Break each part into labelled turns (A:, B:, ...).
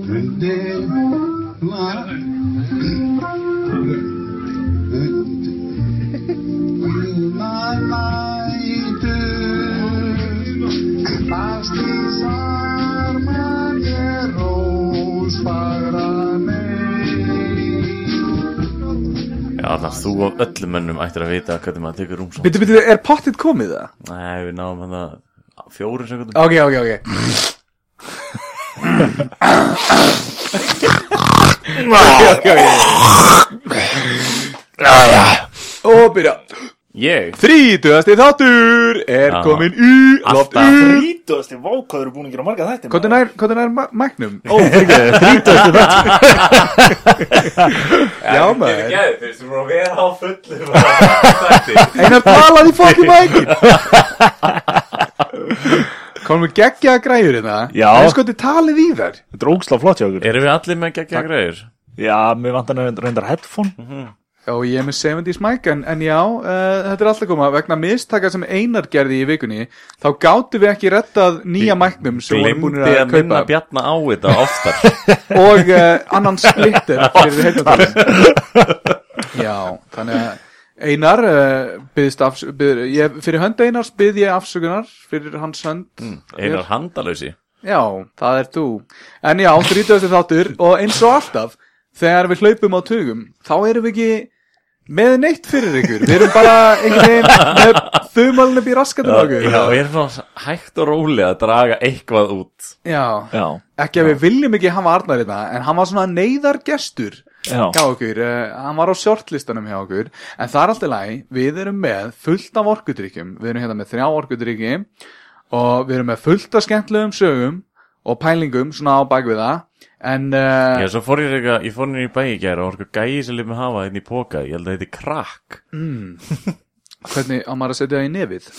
A: De la my light Fastins armar ég rós fagra mig
B: Já, þannig að þú og öllum mönnum ættir að vita hvernig maður tekur rúmsón
C: Bitu, bitu, er pottit komið það?
B: Nei, við náum hann að fjórum sekundum
C: Ok, ok, ok Ok, ok, ok. Og byrja
B: Ég,
C: Þrítugasti þáttur er
B: Já.
C: komin í loft
B: Alltaf.
C: í
D: Rítuðasti vákaður búin að gera marga þætti
C: Hvernig
D: maður.
C: nær, hvernig nær ma- mæknum?
D: Ó, fyrir þrítast
C: Já maður
B: Gæði, þú veist, þú voru að vera á fullu
C: Einar talaði í fokki mækin Komum við geggja græður hérna
D: Já.
C: Það er sko þetta talið í þær
D: Þetta er ógsla flott hjá okkur
B: Erum við allir með geggja greiður?
D: Já, mér vantar reyndar- reyndar headphone
C: Já, ég er með 70s mic, en, en já, uh, þetta er alltaf koma, vegna mistaka sem Einar gerði í vikunni, þá gáttu við ekki rettað nýja mæknum sem voru búin
B: Glimdi
C: að,
B: að minna
C: kaupa
B: Bjarna á þetta oftar
C: og uh, annan splitter fyrir heyrnartólin. Já, þannig að Einar uh, byðst afsökunar, ég, fyrir hönd Einars byð ég afsökunar fyrir hans hönd.
B: Einar handalösi
C: Já, það er þú. En já, 30. þáttur og eins og alltaf, þegar við hlaupum á tugum, þá erum við ekki með neitt fyrir ykkur. Við erum bara einhvern veginn með þumalinn upp í raskatum á okkur.
B: Já, og ég er svona hægt og rólega að draga eitthvað út
C: Já,
D: Já,
C: ekki að við viljum ekki hafa Arnar í það, en hann var svona neyðargestur
D: já,
C: hjá okkur. Uh, hann var á shortlistanum hjá okkur, en það er alltaf lægi. Við erum með fullt af orkudrykkjum. Við erum hérna með þrjá orkudrykki og við erum með fullt af skemmtlegum sögum og pælingum svona á bak við það. En, uh,
B: Já, svo fór ég eitthvað, ég fór niður í bæ í gæra og orku gæi sem lifið með hafa hérna í póka Ég held að þetta er krakk
C: Hvernig á maður að setja það í nefið?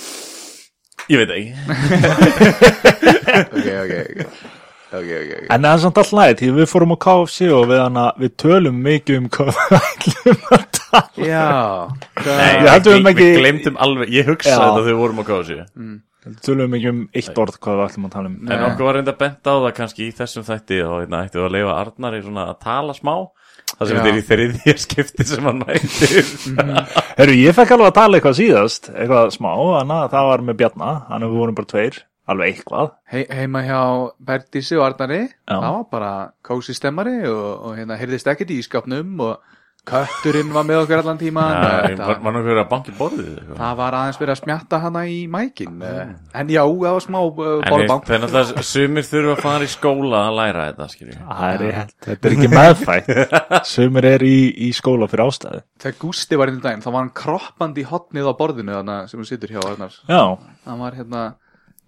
B: Ég veit ekki
C: Ok, ok, ok. Ok, ok, ok.
D: En það er samt alltaf lægt, því við fórum á KFC og við, hana, við tölum mikið um hvað við ætlum að tala.
C: Já.
B: Nei,
D: Ég held við höfum
B: við-
D: ekki-
B: Við glemdum alveg, ég hugsaði
D: Já.
B: þetta þegar við vorum á kási
D: Tölum mikið um eitt orð hvað við ætlum að tala um.
B: En
C: Nei.
B: okkur var reynda bent á það kannski í þessum þætti og hérna ættu að leifa Arnar í svona að tala smá Það sem
C: Já. Mm,
B: þetta er í þriðja skipti sem hann mættir
D: Herru, ég fekk alveg að tala eitthvað síðast, eitthvað smá, þannig að það var með Bjarna, þannig að við vorum bara tveir, alveg eitthvað.
C: He heima hjá Berndísi og Arnari.
D: Já.
C: Það var bara kósi stemmari og, og hérna heyrðist ekkert í skapnum og kötturinn var með okkur allan tíman. og
B: Var
C: þetta-
B: var nokkuð verið að banki borðið eitthvað?
C: Það var aðeins verið að smjatta hana í mækin. Mm. En já, það var smá uh,
B: En við-
C: bólbang.
B: það er náttúrulega sumir þurfa að fara í skóla að læra þetta, skilju.
D: Það er rétt, þetta er ekki meðfætt, sumir er í, í skóla fyrir ástæðu.
C: Þegar Gústi var hérna um daginn, þá var hann kroppandi í hotnið á borðinu þarna sem hún situr hjá Arnar.
D: Já,
C: Hann var hérna,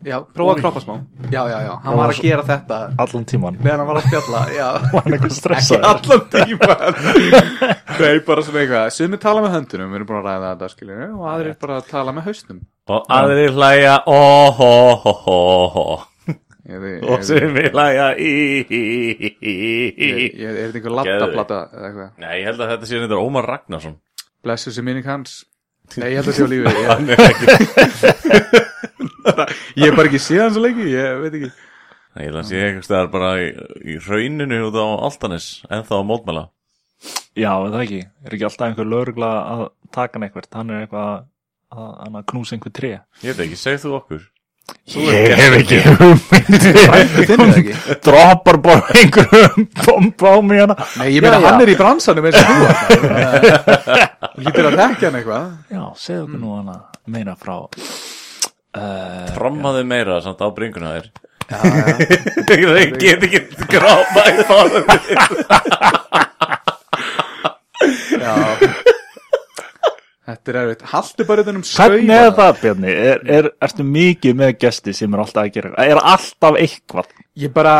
C: já, prófa að kroppa smá. Já, já, já, hann var að gera þetta
D: allan tíman,
C: meðan hann var að spjalla, já.
D: var hann eitthvað
C: ekki
D: stressaður.
C: allan tíman Nei, bara svona eitthvað Sumir tala með höndunum, við erum búin að ræða þetta skiljum og aðrir bara að tala með hausnum
B: Og aðrir hlæja óhóhóhóhó
C: Ég veit- ég
B: og
C: veit-
B: sumir hlæja íhíhíhíhí.
C: ég- ég- Er þetta einhver lattaplata eða eitthvað
B: Nei, ég held að þetta sé þetta Ómar Ragnarsson.
C: Blessu sem minning hans Nei, ég held að sé á lífi Ég, ég er bara ekki séð hann svo lengi, ég veit ekki
B: Nei, Ég held að sé einhvers staðar bara í, í hrauninu út á Altanis, ennþá á mótmæla.
D: Já, er það ekki, er ekki alltaf einhver lögregla að taka hann eitthvað, hann er eitthvað að, að, að knúsa einhver tré.
B: Ég veit ekki, segð þú okkur.
D: Ég hef ekki hugmynd
C: Finnur það ekki?
D: Droppar bara einhverjum bomba á mig hérna. hana
C: Nei, ég meina
D: Já, já.
C: hann er í bransanum eins og þú Arnar. Lítur að þekka hann eitthvað
D: Já, segðu okkur nú hana meina frá uh,
B: Trommaðu meira samt á bringuna þér. Ég get ekki gráma í það.
C: Já Þetta er erfitt Haltu bara utan um
D: Hvernig
C: skauða.
D: er það, Bjarni? Er, er, ertu mikið með gesti sem er alltaf að gera eitthvað? Er alltaf eitthvað?
C: Ég bara,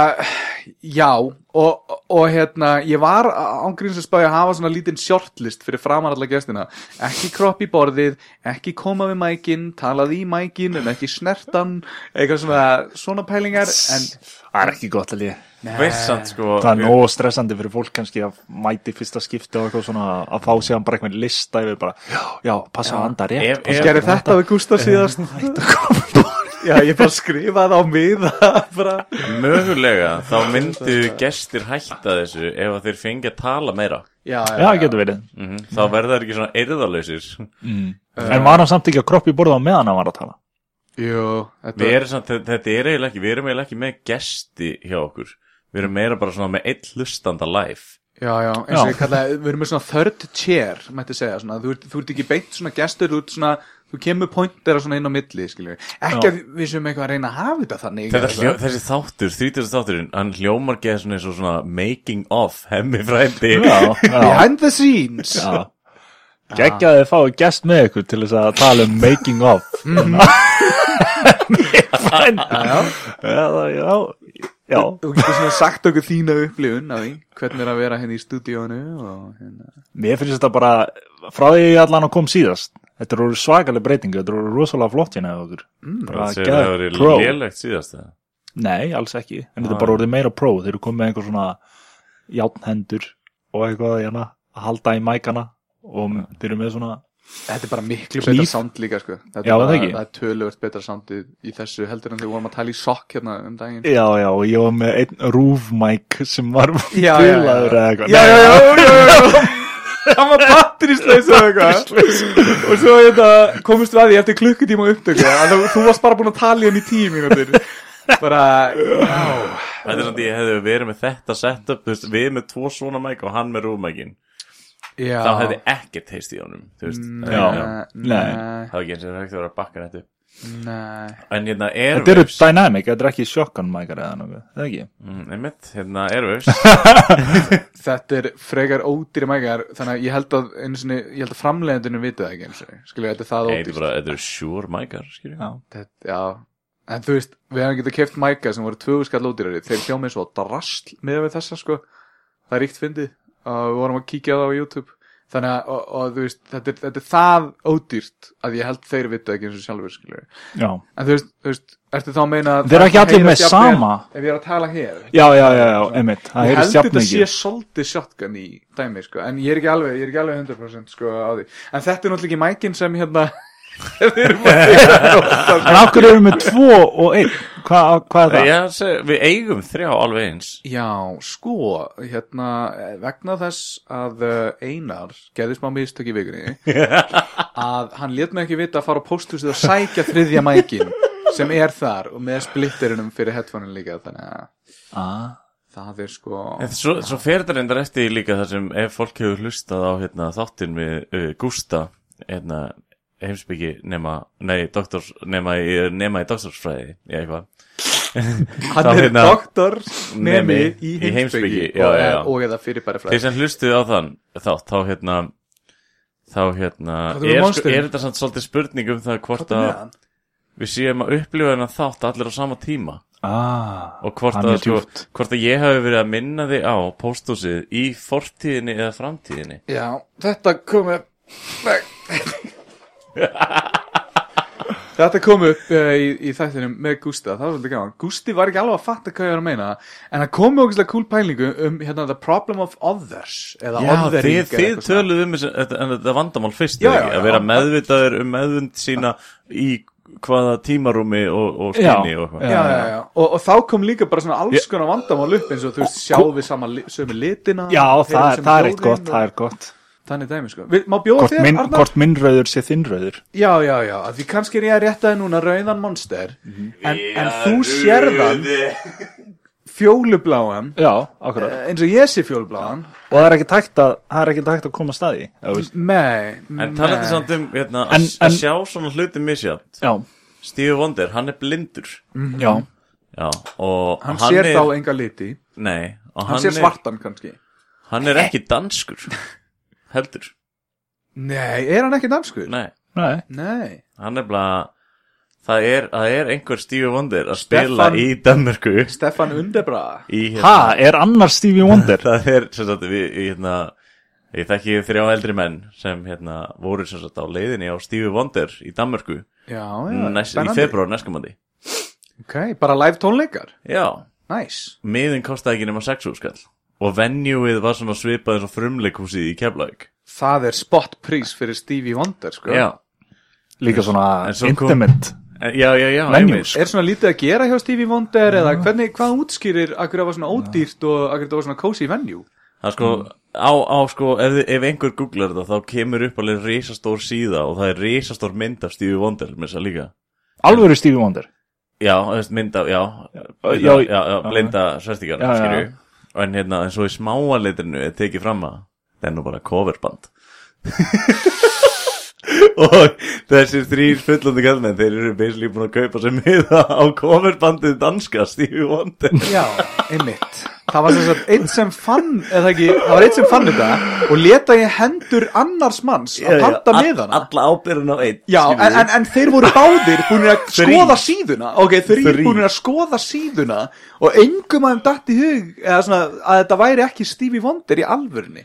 C: já, og, og hérna, ég var ángríns að spája að hafa svona lítinn shortlist fyrir framar alla gestina. Ekki kropp í borðið, ekki koma við mækin, talað í mækin, en ekki snertan, eitthvað svona, svona pælingar, en...
D: Það er ekki gott alveg
B: Veist samt sko.
D: Það er nógu stressandi fyrir fólk kannski að mæti fyrsta skipti og eitthvað svona að fá síðan bara einhvern lista yfir bara, já, já, passa að anda rétt
B: Ef-
D: passa
B: ef-
D: að
C: Gerði
D: anda-
C: þetta við Gústa síðast?
D: Hættu að koma
C: Já, ég bara skrifaði á miða bara.
B: Mögulega, þá myndu gestir hætta þessu ef að þeir fengi að tala meira
C: Já,
D: Já, getur verið.
B: mm Þá verða þeir ekki svona eyrðalausir
D: En var hann samt ekki að kroppi borða á meðan hann var að tala?
C: Jú, þetta
B: Við erum samt, þe- þetta er eiginlega ekki, við erum eiginlega ekki með gesti hjá okkur Við erum meira bara svona með einn hlustanda live
C: Já, já, eins og
D: Já.
C: ég kallaði, við erum með svona third chair, mætti segja, svona, þú, ert, þú ert ekki beint svona gestur, þú ert svona, þú kemur pointera svona inn á milli, skiljum við. Ekki
D: Já.
C: að við séum eitthvað að reyna að hafa þetta þannig. sko.
B: Þetta,
C: eða-
B: hljó, þessi þáttur, þrítast þátturinn, hann hljómar geða svona eins og svona making of hemmi frændi
D: Já,
C: Behind the scenes.
D: já. Gekkjaði að fáið gest með ykkur til þess að tala um making of. Fræn. Já, það- já, já.
C: Þú getur svona sagt okkur þína upplifun af því, hvernig er að vera henni í stúdíónu og hérna.
D: Mér finnst þetta bara, frá því ég allan að kom síðast, þetta eru svakalega breytingu, þetta eru rosalega flott hérna hjá okkur. Mm,
B: Það segir það að vera lélegt síðast það
D: Nei, alls ekki, en þetta er bara orðið meira pro, þeir eru komið með einhver svona játnhendur og eitthvað hérna, að halda í mækana og þeir eru með svona,
C: Þetta er bara miklu
D: Knýf.
C: betra sound líka, sko. Þetta
D: Já,
C: er bara,
D: það ekki.
C: það er töluvert betra soundið í þessu heldur en þegar við vorum að tala í sokk hérna um daginn.
D: já, já, og ég var með einn rúfmæk sem var
C: já, já.
D: bilaður eða eitthvað.
C: já,
D: Nei,
C: já, já, já, já. hann var batterislaus og eitthvað og svo þetta, komist við að því eftir klukkutíma upptöku að þú, þú varst bara búin að tala í hann í tíu mínútur bara, já
B: Þetta er svona því ég hefði verið með þetta setup, þú veist, við með tvo svona mæk og hann með rúmækin
C: já,
B: Þá hefði ekkert heist í honum, þú veist
D: Mm, Já.
C: nei,
D: Nei.
B: Það var ekki eins og það er ekkert að vera að bakka nættu
C: nei
B: En hérna
D: Þetta eru
B: Airwaves
D: dynamic, þetta er ekki sjokkan mækar eða nokkuð, það er ekki.
B: Mm, Einmitt, hérna Airwaves
C: þetta er frekar ódýri mækjar þannig að ég held að, einu sinni, ég held að framleiðendunum vitið það ekki eins og skilja, þetta er það
B: Þetta er
C: ódýrt
B: bara, þetta eru sure mækar, skiljum
D: Já.
C: þetta, já en þú veist, við hefum getað keft mækja sem voru tvögu skall ódýrari, þeir hljómið svo drasl með við þessa sko, það er ríkt fyndið og við vorum að kíkja á það á YouTube þannig að, og, og þú veist, þetta er, þetta er það ódýrt að ég held þeir vittu ekki eins og sjálfur skilur,
D: Já,
C: en þú veist, þú veist ertu þá að meina að
D: Þeir eru
C: það
D: ekki allir
C: heyrast
D: með
C: jafnvel
D: sama.
C: ef ég er að tala hér
D: já, já, já, já emitt, það
C: ég
D: er
C: held þetta sé
D: sjafnmikið.
C: svolítið shotgun í dæmi sko, en ég er ekki alveg, ég er ekki alveg 100% sko á því, en þetta er náttúrulega ekki mækin sem hérna þeir eru bara-
D: En af hverju erum við tvo og einn? Hva, hvað er það?
B: Já, seg, við eigum þrjá alveg eins
C: Já, sko, hérna, eh, vegna þess að eh, Einar gerði smá mistök í vikunni að hann let mig ekki vita að fara á pósthúsið og sækja þriðja mækin sem er þar og með splitterinum fyrir headphonein líka, þannig að
D: Ah.
C: það er sko,
B: En Svo, svo fer þetta reyndar eftir því líka þar sem ef fólk hefur hlustað á hérna, þáttinn við uh, Gústa hérna, heimsbyggi nema nei, doktors, nema, í, nema í doktorsfræði já, eitthvað
C: hann
B: þá
C: er
B: hérna-
C: doktor nemi
B: Nemi
C: í
B: í
C: heimsbyggi
B: heimspeki, já,
C: og, eh,
B: já, já.
C: og eða fyrir bara
B: þeir
C: fræð
B: sem hlustuðu á þann þátt, þá hérna þá hérna
C: Hvað þú eru
B: er, sko,
C: monsterin?
B: er þetta samt svolítið spurning um það hvort að við séum að upplifa hennar þátt allir á sama tíma
D: Ah,
B: og hvort
D: Það er
B: að,
D: mjög
B: sko,
D: djúpt.
B: hvort að ég hafi verið að minna þig á pósthúsið í fortíðinni eða framtíðinni
C: Já, þetta kom upp Nei. Þetta kom upp uh, í, í þættinum með Gústa, það var svolítið gaman Gústi var ekki alveg að fatta hvað ég var að meina En hann kom með ógæslega cool pælingu um hérna, The Problem of Others eða
B: Já,
C: othering
B: þið,
C: eða
B: þið
C: eitthvað svona.
B: töluðu um þessi- þetta en þetta vandamál fyrst
C: Já,
B: eða
C: já,
B: ekki?
C: já.
B: að vera meðvitaður um meðvund sína í hvaða tímarúmi og, og
D: Já,
B: skinni og eitthvað
C: Já, já, já, og, og þá kom líka bara svona alls konar vandamál upp eins og þú veist, sjáum við sama li, sömu litina
D: Já,
C: heyrðum
D: það, er-
C: sömu
D: það er
C: hljóðin
D: eitt gott, það er gott.
C: og Þannig dæmi, sko, við, má bjóða
D: Hvort
C: þér,
D: minn,
C: Arnar?
D: hvort minn rauður sé þinn rauður.
C: Já, já, já, að því kannski er ég að rétta þið núna rauðan monster en, en þú sérðan fjólubláan
D: Já, akkurat.
C: eh, eins og ég sé fjólubláan
D: Og það er ekki tækt að, það er ekki tækt að koma að staði.
C: Nei,
B: En talaðu samt um hérna,
D: En-
B: að
D: en-
B: að sjá svona hluti misjátt
D: Já,
B: Steve Wonder, hann er blindur
D: já,
B: Já, og
C: Hann sér
B: er,
C: þá enga liti Hann,
B: Nei, og hann,
C: sér
B: er,
C: svartan kannski
B: hann er ekki danskur Heldur,
C: Nei, er hann ekki danskur?
B: nei
D: nei.
C: Nei.
B: Hann er bara Það er, það er einhver Steve Wonder að spila
C: Stefan-
B: í Danmörku
C: Stefan Undebra
B: í hérna
D: Ha, er annar Stevie Wonder?
B: það er sem sagt við, ég, hérna, ég þekki þrjá eldri menn sem hérna voru sem sagt á leiðinni á Stevie Wonder í Danmörku
C: Já, Ah, já,
B: næst, í februar næskumandi
C: Ok, bara live tónleikar
B: já,
C: Nice
B: miðin kostaði ekki nema 6 úrskall og venjuið var svona svipað eins og frumleikhúsið í Keflavík
C: Það er spot prís fyrir Stevie Wonder sko
B: já,
D: Líka svona
B: En svo kom-
D: intimate.
B: Já, já, já
D: Menjús.
C: Er svona lítið að gera hjá Stevie Wonder eða hvernig, hvað útskýrir akkur það var svona ódýrt og akkur það var svona cozy venue?
B: Það er sko, á, á sko, ef, ef einhver googlar þetta þá kemur upp alveg risastór síða og það er risastór mynd af Stevie Wonder með þess að líka
D: Alvöru Stevie Wonder
B: Já, þú veist, mynd af, já,
D: já,
B: já, já,
D: já.
B: blinda svertíkar,
D: Já, já.
B: skilju En hérna, en svo í smáaleitrinu er tekið fram að það er nú bara coverband Og þessir þrýr fullandi kallmenn, þeir eru basically búin að kaupa sér miða á coverbandið danska Stevie Wonder
C: Já, einmitt Það var sem sagt einn sem fann eða ekki, það var einn sem fann þetta og leta ég hendur annars manns að panta með hana
B: Alla ábyrðin á einn
C: Já,
B: skilurðu.
C: en, en, en þeir voru báðir búinir að
B: Þrír.
C: skoða síðuna Ok, þrír,
B: Þrír.
C: þrír. búinir að skoða síðuna og engum að þeim datt í hug eða svona, að þetta væri ekki Stevie Wonder í alvörni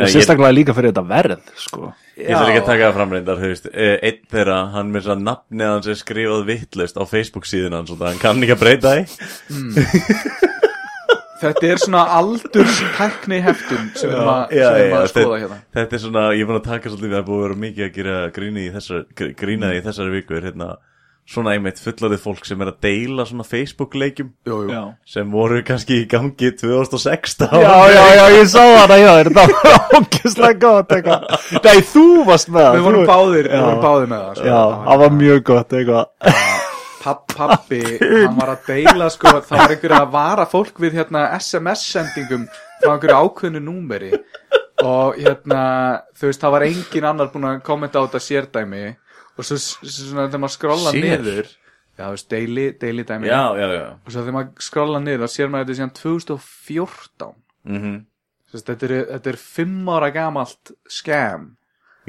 B: Eh, ég-
D: Sérstaklega líka fyrir þetta verð sko.
B: Ég þarf ekki að taka það fram reyndar, þú veist, eh, einn þeirra, hann með þess að nafnið hans er skrifað vittlaust á Facebook síðan hans og það hann kann ekki að breyta því.
C: Þetta er svona aldurstækni heftum sem við erum að,
B: Já,
C: sem við erum
B: já,
C: að skoða
B: þetta-
C: hérna
B: Þetta er svona, ég er búin að taka svolítið, við erum búin að vera mikið að gera gríni í þessar, gr- grínað í þessari viku, er hérna svona einmitt fullaðið fólk sem er að deila svona Facebook-leikjum
C: Jú, jú.
D: Já,
B: sem voru kannski í gangi 2016.
D: já, já, já, ég sá það já, Þetta var ógislega gott eitthvað. Nei, þú varst með það,
C: Við vorum
D: þú-
C: báðir, við
D: Já.
C: vorum báðir með það sko.
D: Já, það var mjög gott eitthvað
C: papp, pappi, hann var að deila sko, það var einhver að vara fólk við hérna SMS-sendingum frá einhverju ákveðnu númeri og hérna, þú veist, það var engin annar búin að kommenta á þetta sérdæmi og svo, s- s- svona, þegar maður skrolla
B: Sér?
C: niður já, þú veist, deili, deili dæmi
B: já, já, já.
C: og svo þegar maður skrolla niður, þá sér maður þetta síðan 2014
B: Mm
C: Þú veist, þetta, er, þetta er fimm ára gamalt skam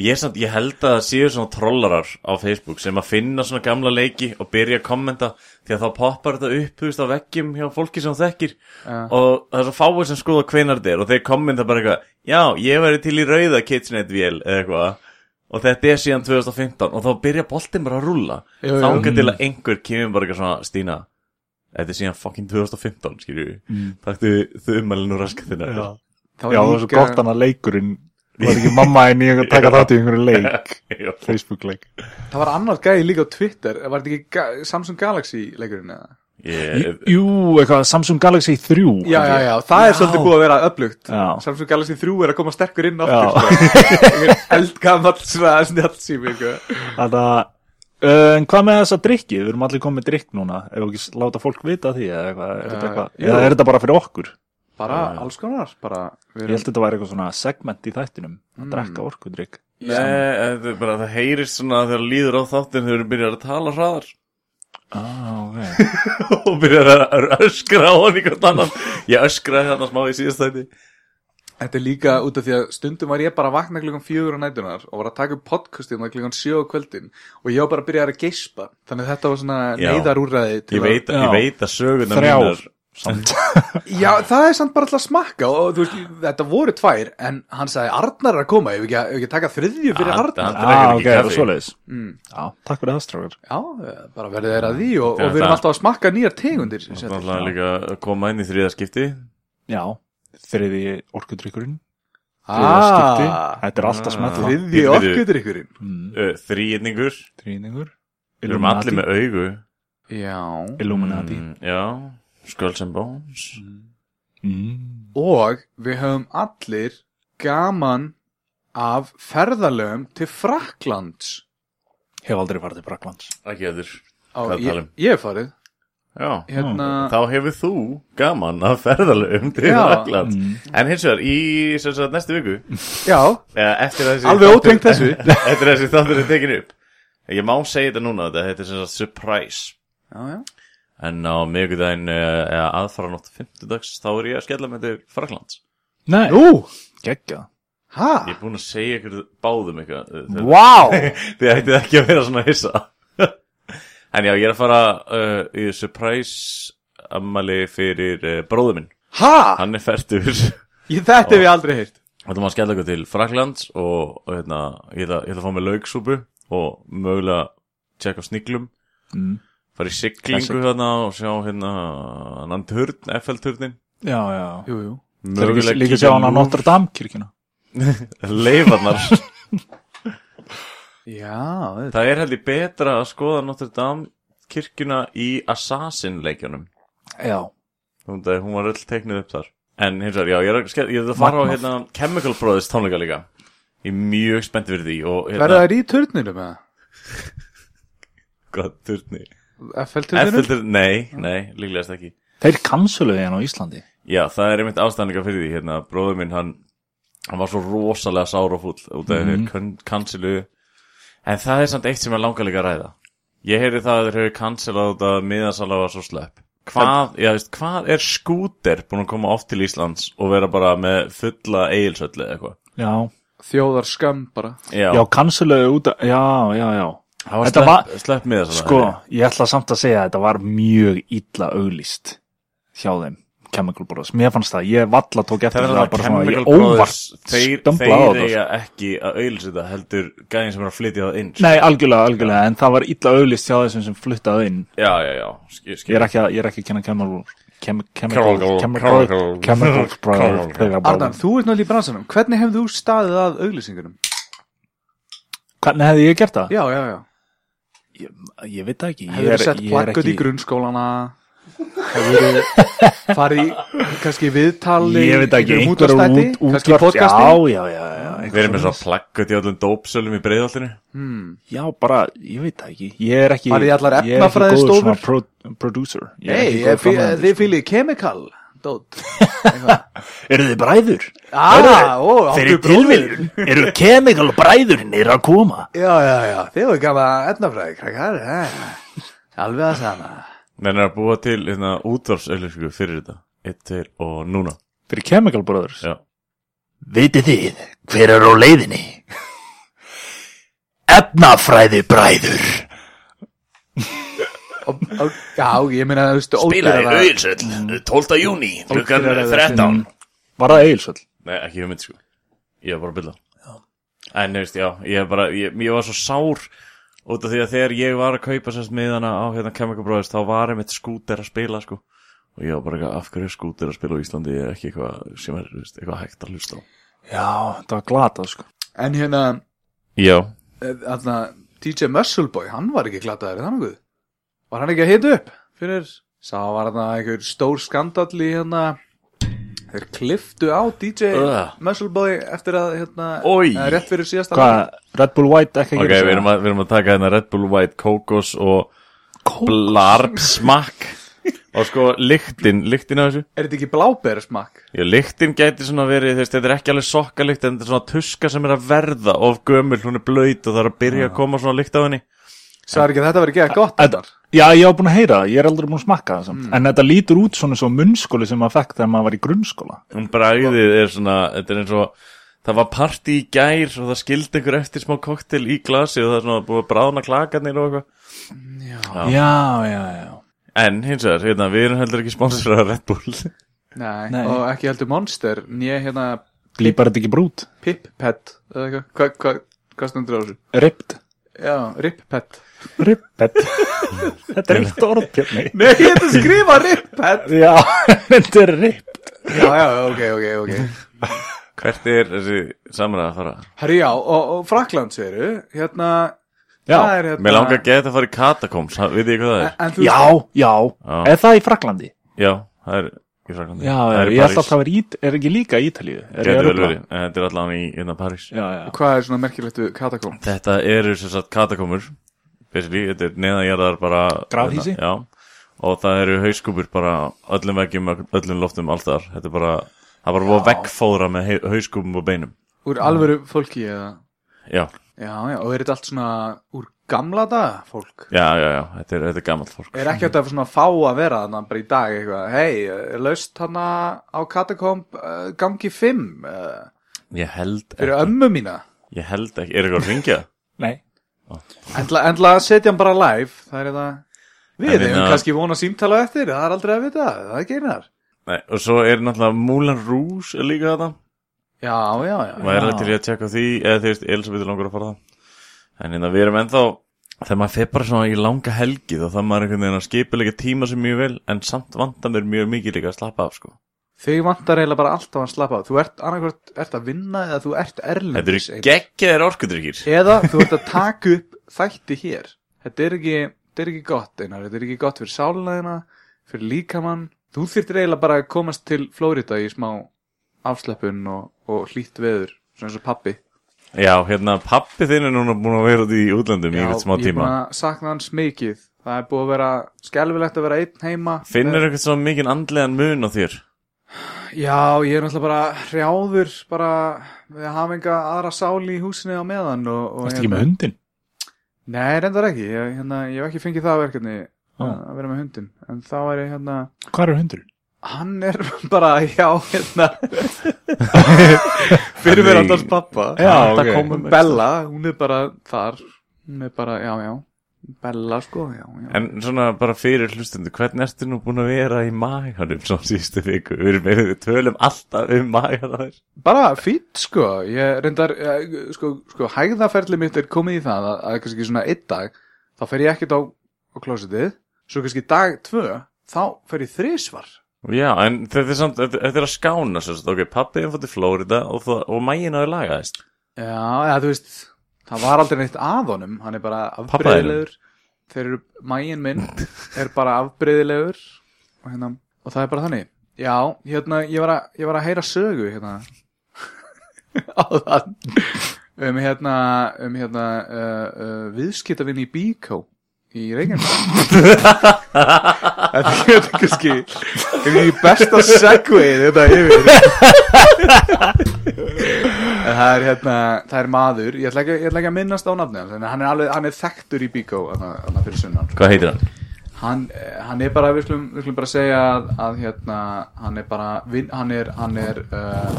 B: Ég, er samt, ég held að það séu svona trollarar á Facebook sem að finna svona gamla leiki og byrja að kommenta því að þá poppar þetta upp þú veist, á veggjum hjá fólki sem þú þekkir
C: Já.
B: og það er svo fáið sem skoða hvenar þetta er og þeir kommenta bara eitthvað Já, ég væri til í rauða KitchenAid-vél eða eitthvað og þetta er síðan 2015 og þá byrja boltin bara að rúlla
C: Jú, jú.
B: Þángar til að einhver kemur bara eitthvað svona Stína, þetta er síðan fucking 2015 skilju, mm. taktu þau umælinu raskatina
D: Já,
C: Það var
D: já það var svo
C: líka-
D: gott hann að leikurinn Var ekki mamma henni að taka þátt í einhverju leik
B: Já.
D: Facebook-leik
C: Það var annar gæði líka á Twitter Var þetta ekki ga- Samsung Galaxy leikurinn eða?
B: Ég,
D: Jú, eitthvað, Samsung Galaxy 3
C: Já, já, já, það er svolítið búið að vera öflugt
D: Já.
C: Samsung Galaxy 3 er að koma sterkur inn
D: Já.
C: aftur sko. Eldgamall svona snjallsými
D: Þannig að eh, En hvað með þessa drikki? Við erum allir komið með drikk núna Ef ekki s- láta fólk vita af því eða, eitthvað, er, þetta
C: Já,
D: eitthvað,
C: jú.
D: eða er þetta bara fyrir okkur?
C: Bara
B: Já.
C: alls konar bara, við
D: Ég held þetta væri eitthvað svona segment í þættinum Að drekka orkudrykk
B: Nei, þetta er bara, það heyrist svona þegar líður á þáttin þegar þú byrjar að tala hraðar
D: ah, okay.
B: og byrjar að- að öskra á hann einhvern annan Ég öskraði þarna smá í síðastæti
C: Þetta er líka út af því að stundum var ég bara að vakna klukkan fjögur á nætunar og var að taka upp podcastin það klukkan sjö á kvöldin og ég var bara að byrja að geispa þannig að þetta var svona
B: Já.
C: neyðarúræði til
B: Ég veit,
D: Já.
B: ég veit að söguna
D: Þrjár
B: mínar
D: samt
C: að, Já, það er samt bara alltaf að smakka og þú veist, þetta voru tvær en hann sagði Arnar er að koma, ef ekki, ef ekki að taka þriðju fyrir
B: Ah,
C: Arnar
B: hann drekkur
D: ah,
B: ekki
D: okay,
B: kaffi.
D: það er svoleiðis
C: Mm.
D: Já, takk fyrir það strákar
C: Já, bara verðið þeirra að því
B: Það-
C: og, og við erum
B: það-
C: alltaf að smakka nýjar tegundir sem
B: Það
C: sagt.
B: er alltaf líka að koma inn í þriðaskipti
D: Já, þriði orkudrykkurinn
C: Ah,
D: Þetta er alltaf smetla
B: Ah.
D: ah.
C: þriði
B: Bíddu, bíddu.
C: orkudrykkurinn
D: mm,
B: Þrýinningur,
D: Þrýningur
B: við Uh, erum allir með augu
C: Já
D: Illuminati
B: Mm, Já, Skulls and Bones
D: mm.
C: Og við höfum allir gaman af ferðalöfum til Fraklands
D: Hef aldrei farið til Braklands
B: Ekki eður
C: Á,
B: Hvað
C: ég,
B: talum? Hm,
C: ég hef farið
B: Já,
C: Hérna,
B: þá hefur þú gaman að ferðalöfum til
C: Já.
B: Rakland
D: Hmm. Mm.
B: En hins vegar, í sem sagt, næstu viku
C: já,
B: Eða eftir að þessi
C: Alveg ótengt þessu.
B: Eftir að þessi þáttur er tekin upp Ég má segja þetta núna, þetta heitir sem sagt surprise
C: já, já
B: En á miðvikudaginn eh, eða aðfara nótt fimmtudags Þá er ég að skella með þetta Fraklands
D: Nei,
C: Nú,
D: geggja
C: ha,
B: Ég er búinn að segja ykkur báðum eitthvað eh, þegar-
D: Vá
B: Þið ættið ekki að vera svona hissa En já, ég er að fara uh, í surprise ammali fyrir uh, bróður minn
C: ha
B: Hann er færtur Þá
C: ég, Þetta hef ég aldrei heyrt
B: ætlum að skella ykkur til Fraklands Og, og hérna, ég ætla, ég ætla að fá mig lauksúpu Og mögulega tjekka á sniglum
D: mm.
B: fara í siglingu
D: Classic.
B: þarna og sjá hérna annan turn, FL-turnin
D: Já, já
C: Jú, jú
D: Mögulega líka sjá hann á Notre Dame kirkjuna
B: leifarnar
C: Já, þetta
B: það er heldur betra að skoða Notre Dame kirkjuna í Assassin-leikjunum
D: já,
B: Hún það- hún var öll teiknuð upp þar En hins vegar, já, ég er, að ske- ég er að fara á
D: Magnað.
B: hérna, Chemical Brothers tónleika líka Ég er mjög spennt fyrir því og
C: Verða
B: hérna,
C: þær í turninu með
B: hvað, turni
C: FL-turninu?
B: Eftir, nei, nei, líklegast ekki
D: þeir kansulöðu hérna á Íslandi
B: Já, það er einmitt ástæðninga fyrir því hérna, bróður minn, hann, hann var svo rosalega sár og fúll
D: Mhm.
B: út af mm -hmm. kansilu en það er samt eitt sem ég langar líka að ræða ég heyri það að þeir hefur kansilað út af að miðasala var svo slepp hvað, já, veist, hvað er skúter búin að koma oft til Íslands og vera bara með fulla eigilsöllu eða eitthvað
D: já,
C: Þjóðar skam bara
B: já,
D: já kansulöðu út að, já, já, já
B: það var
D: þetta
B: slepp,
D: var-
B: slepp miðasala
D: Sko, ég ætla samt að segja að þetta var mjög illa auglýst hjá þeim Chemical Brothers, mér fannst það, ég valla tók eftir
B: Það er
D: það
B: það
D: bara svona,
B: Chemical
D: ég óvart
B: Brothers, þeir,
D: stömbla á
B: þeir
D: þetta
B: eiga ekki að auðlýsita heldur gæðin sem er að flytja það inn sko.
D: Nei, algjörlega, algjörlega, en það var illa auglýst hjá þessum sem fluttaði inn
B: Já, já, já, skil, skil
D: Ég er ekki að, ég er ekki að kenna Chemical Chem- Chemical
B: Chemical-
D: Chemical
B: Chemical-
D: Chemical Brothers
B: Chemical-
C: Arnar,
D: Chemical Brothers.
C: þú ert náttúrulega í bransanum Hvernig hefðu þú staðið að auglýsingunum?
D: Hvernig hefði ég gert það?
C: Já, já, já
D: Ég, ég veit það ekki Ég
C: Hefur
D: er,
C: þið sett
D: ég er
C: plakkut í
D: ekki
C: grunnskólana Hefur þið farið í kannski viðtali
D: Ég veit ekki,
C: einhverjum
D: einhver
C: útvarpsþætti,
D: út,
C: Kannski
D: útvarp,
C: podcasti
D: já, já, já, já
B: Við erum með svo plakkat í öllum dópsölum í breiðaltinu
C: hmm.
D: Já, bara, ég veit það ekki Ég er ekki
C: Farið í allar
D: ég er ekki
C: efnafræðistofur?
D: góður svona pro, Producer Ég er
C: Nei,
D: ekki
C: ég
D: góður
C: fí-
D: framleiðandi,
C: þið
D: sko.
C: fylgir chemical Dótt
D: Eru þið bræður?
C: Ah, ó,
D: Þeir
C: áttu
D: eru tilviljun Eru chemical bræðurinn er að koma
C: Já, já, já, þið voru gama etnafræði krakkar eh. Alveg að sama
B: Menn er að búa til hérna, útvarfsauðlýsingu fyrir þetta Eitt, tveir og núna
D: Fyrir chemical brothers
B: Já.
D: Vitið þið hver er á leiðinni? Efnafræði bræður
C: og, og, Já, ég meina, þú veistu, ódýrara-
E: Auðilsöll 12. júni klukkan
C: Ódýrara
D: Mm.
E: 13
D: Var það eigilsöld?
B: Nei, ekki hugmynd sko Ég var bara að bylla En nefnist, já, ég, bara, ég, ég var svo sár Út af því að þegar ég var að kaupa sérst miðana á hérna Chemical Brothers Þá var einmitt skúter að spila sko Og ég var bara eitthvað, af hverju er skúter að spila á Íslandi Er ekki eitthvað sem er þú veist, eitthvað hægt að hlusta á
D: Já, þetta var glatað sko
C: En hérna,
B: Já,
C: eh, þarna DJ Muscleboy, hann var ekki glataður þannig guð. Var hann ekki að hita upp fyrir sá var þarna einhver stór skandall í hérna þeir kliftu á DJ
B: Ugh.
C: Muscleboy eftir að hérna
B: Oj.
C: eða rétt fyrir síðasta
D: Hvað, Red Bull White ekki
B: ok, við erum, að, við erum að taka hérna Red Bull White Kokos og Blarb smakk Og sko, lyktin, lyktin af þessu
C: er þetta ekki blábersmakk?
B: Já, lyktin gæti svona verið, þú veist, þetta er ekki alveg sokkalikt en þetta er svona tuska sem er að verða of gömul, hún er blöyt og það er að byrja að koma svona lykt á henni.
C: Sæður ekki að þetta verið ekki að gott
D: Þetta,
C: þar?
D: já, ég á búin að heyra það, ég er aldrei búin að smakka það
C: Mm.
D: samt En þetta lítur út svona svo munnskóli sem maður fekk þegar maður var í grunnskóla
B: Hún bræðið er svona, þetta er eins og, það var partí í gær og það skildi einhver eftir smá koktel í glasi og það er svona búið að bráðna klakarnir og eitthvað. Já.
D: Já, já, já
B: En hins vegar, hérna, við erum heldur ekki sponsorað Red Bull.
C: Nei,
D: Nei.
C: og ekki heldur Monster nýja hérna
D: Blípar þetta ekki brút?
C: Pip Pet eða eitthvað, hvað hva, hva, hva stundur á þessu?
D: Ripped
C: Já, Rip Pet
D: Rippet Þetta er eitt orð, Björni
C: Nei, ég hefði skrifa Rip Pet
D: Já, þetta er ripp
C: Já, já, ok, ok, ok
B: Hvert er þessi samræða að fara?
C: Herri já, og, og Frakland séru, hérna, það
D: Já,
C: er hérna
B: Mér langar að geta að fara í Catacombs, ha- vitið þið hvað það
C: en,
B: er?
C: en þú,
D: já, já
B: Já.
D: Er það í Fraklandi?
B: Já, það er í Fraklandi.
D: Já,
B: það
D: já,
B: er í
D: ég ætla
B: París.
D: alltaf að vera í, er ekki líka í Ítalíu Er ég
B: Gæti
D: að
B: vel
D: rugla?
B: verið, en Þetta er allan í, hérna, París.
D: Já, já,
C: hvað er svona merkilegt við katakom?
B: Þetta eru sem sagt katakomur basically, þetta er neðanjarðar bara hérna,
D: Grafhýsi?
B: Já, og það eru hauskúpur bara öllum veggjum, öllum loftum alltaf, þetta er bara það er bara búið að veggfóðra með hei- hauskúpum og beinum
C: Úr alvöru fólki eða?
B: Já,
C: Já, já, og er þetta allt svona úr gamla daga fólk?
B: já, já, já, þetta er, þetta er gamalt fólk
C: Er ekki þetta svona fá að vera þarna bara í dag eitthvað, hei, er laust hana á katakom uh, gangi 5 uh,
B: Ég held
C: fyrir
B: ekki,
C: ömmu mína?
B: ég held ekki, er eitthvað að ringja?
D: nei
C: Endla, endla að setja hann bara live, það er þetta,
B: En
C: við hefum
B: minna-
C: kannski vona símtala eftir, það er aldrei að vita, það er geinar.
B: Nei, og svo er náttúrulega Moulin Rouge er líka þetta
C: Já, já, já.
B: maður er
D: Já.
B: alveg til í að tjekka á því eða þú veist, Elisabeth er langur að fara það en hérna, við erum ennþá þegar maður fer bara svona í langa helgi þá þarf maður einhvern veginn að skipilega tíma sem mjög vel en samt vantar mér mjög mikið líka að slappa af sko.
C: Þig vantar eiginlega bara alltaf að slappa af Þú ert annarkvort, ert að vinna eða þú ert
B: þetta
C: erlendis
B: eru geggjaðir orkudrykkir
C: Eða þú ert að taka upp þætti hér Þetta er ekki þetta er ekki gott einar, þetta er ekki gott fyrir sálinæðina, fyrir líkamann. Þú þyrtir eiginlega bara að komast til Flórida í smá afslöpun og, og hlýtt veður, svona eins og pappi.
B: Já, hérna, pappi þinn er núna búin að vera út í útlöndum í eitthvað Um smá
C: ég er
B: tíma
C: búin að sakna hans mikið. Það er búið að vera skelfilegt að vera einn heima.
B: Finnur eitthvað svo mikinn andlegan mun á þér?
C: Já, ég er náttúrulega bara hrjáður bara við að hafa enga aðra sáli í húsinu á meðan og, og hérna-
D: Ertu ekki með hundin?
C: Nei, reyndar ekki, ég, hérna, ég hef ekki fengið það verkefni
D: Ó.
C: að að vera með hundin en þá er ég hérna
D: Hvað er hundurinn?
C: hann er bara, já, hérna fyrir mér alltaf pappa
D: Já,
C: Þetta
D: ok.
C: kom um Bella, hún er bara þar hún er bara, já, já Bella, sko, já, já
B: En svona bara fyrir hlustundu, hvernig ertu nú búin að vera í maganum svo síðustu viku? Við erum við tölum alltaf um magan á þér.
C: Bara fýtt sko, ég reyndar, eh, sko, sko hægðaferli mitt er komið í það að, að kannski svona einn dag, þá fer ég ekkert á, á klósitið, svo kannski dag tvö, þá fer ég þrisvar.
B: Já, en þetta er samt, þetta þetta er að skána svo, ok, pappi er fótt í Flórida og, það- og maginn á þér lagaðist.
C: Já, eða þú veist, það var aldrei neitt að honum, hann er bara afbreyðilegur, þeir eru, mægin minn er bara afbreyðilegur og hérna, og það er bara þannig. Já, hérna, ég var að, ég var að heyra sögu hérna, áðan, um hérna, um hérna, uh, uh, viðskiptavinn í Bíkó í Reykjavík. Þetta er þetta kannski, þetta er besta segveið þetta yfir. En það er hérna, það er maður ég ætla ekki, ég ætla ekki að minnast á nafni hans en hann er, alveg, hann er þekktur í Bíkó þarna- þarna fyrir sunnan sko.
B: Hvað heitir hann?
C: hann, eh, hann er bara, við slum, við slum bara segja að, að hérna, hann er bara vin, hann er, hann er uh,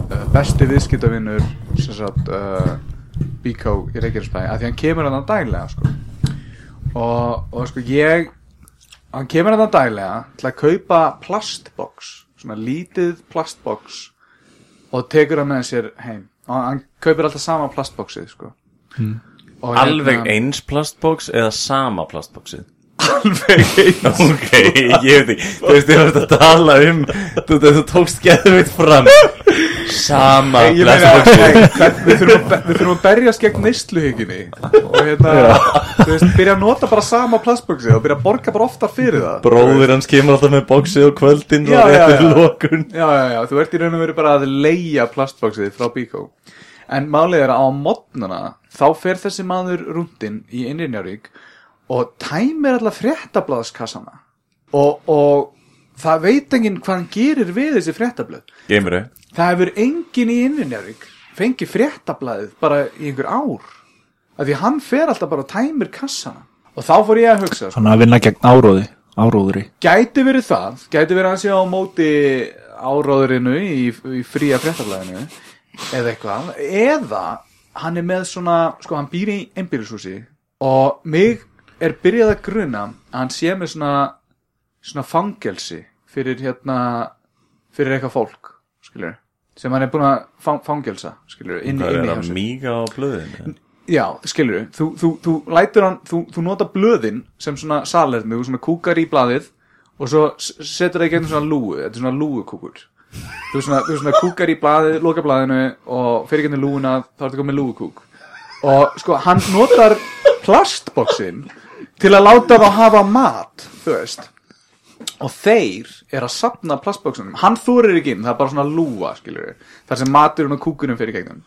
C: uh, besti viðskiptavinnur sem sagt uh, Bíkó í Reykjavíksbæði, af því hann kemur hann daglega sko. og, og sko ég hann kemur hann daglega til að kaupa plastbox svona lítið plastbox og tekur hann með sér heim og hann kaupir alltaf sama plastboxið sko. mm.
B: Alveg eins plastbox eða sama plastboxið?
C: alveg eins
B: Ok, ég veit ekki, þú veist, ég var að tala um, þú, þú, þú tókst geðvitt fram, sama
C: Ég meina,
B: plastboxið.
C: nei, hvern- við þurfum, að, við þurfum að berjast gegn neysluhyggjunni og hérna, þú veist, byrja að nota bara sama plastböksi og byrja að borga bara oftar fyrir það
B: Bróðir hans kemur alltaf með boxið og kvöldin
C: Já,
B: og
C: já,
B: réttir
C: já.
B: lókun.
C: Já, já, já, þú ert í raun og veru bara að leia plastböksið frá Bíkó En málið er að á modnana þá fer þessi maður rúndin í Innrinjarík og tæmir alla fréttablaðskassana og, og það veit enginn hvað hann gerir við þessi fréttablað
B: Geymur þau?
C: Það hefur enginn í Innrinjavík fengið fréttablaðið bara í einhver ár af því hann fer alltaf bara og tæmir kassana og þá fór ég að hugsa sko,
D: Þannig að vinna gegn áróði, áróðri
C: gæti verið það, gæti verið hans ég á móti áráðurinu í, í fría fréttablaðinu eða eitthvað, eða hann er með svona, sko hann býr í einbýlishúsi og mig er byrjað að gruna að hann sé með svona svona fangelsi fyrir hérna fyrir eitthvað fólk, skilur sem hann er búin að fang, fangelsa skilur,
B: Hvað
C: inn, inn
B: er
C: í
B: að
C: hjá sér
B: míga á blöðinu?
C: já, skilur, þú, þú, þú lætur hann þú, þú nota blöðin sem svona salerni, þú svona kúkar í blaðið og svo s- setur það í gegnum svona lúu þetta er svona lúukúkur þú svona, þú svona kúkar í blaðið, loka blaðinu og fyrir gegnum lúuna, þá ertu komið lúukúk og sko, hann notar plastboksin til að láta þá hafa mat þú veist og þeir er að sapna plastbóksunum hann þorir ekki inn, það er bara svona lúa skilur við, þar sem maturinn og kúkunum fyrir gegnum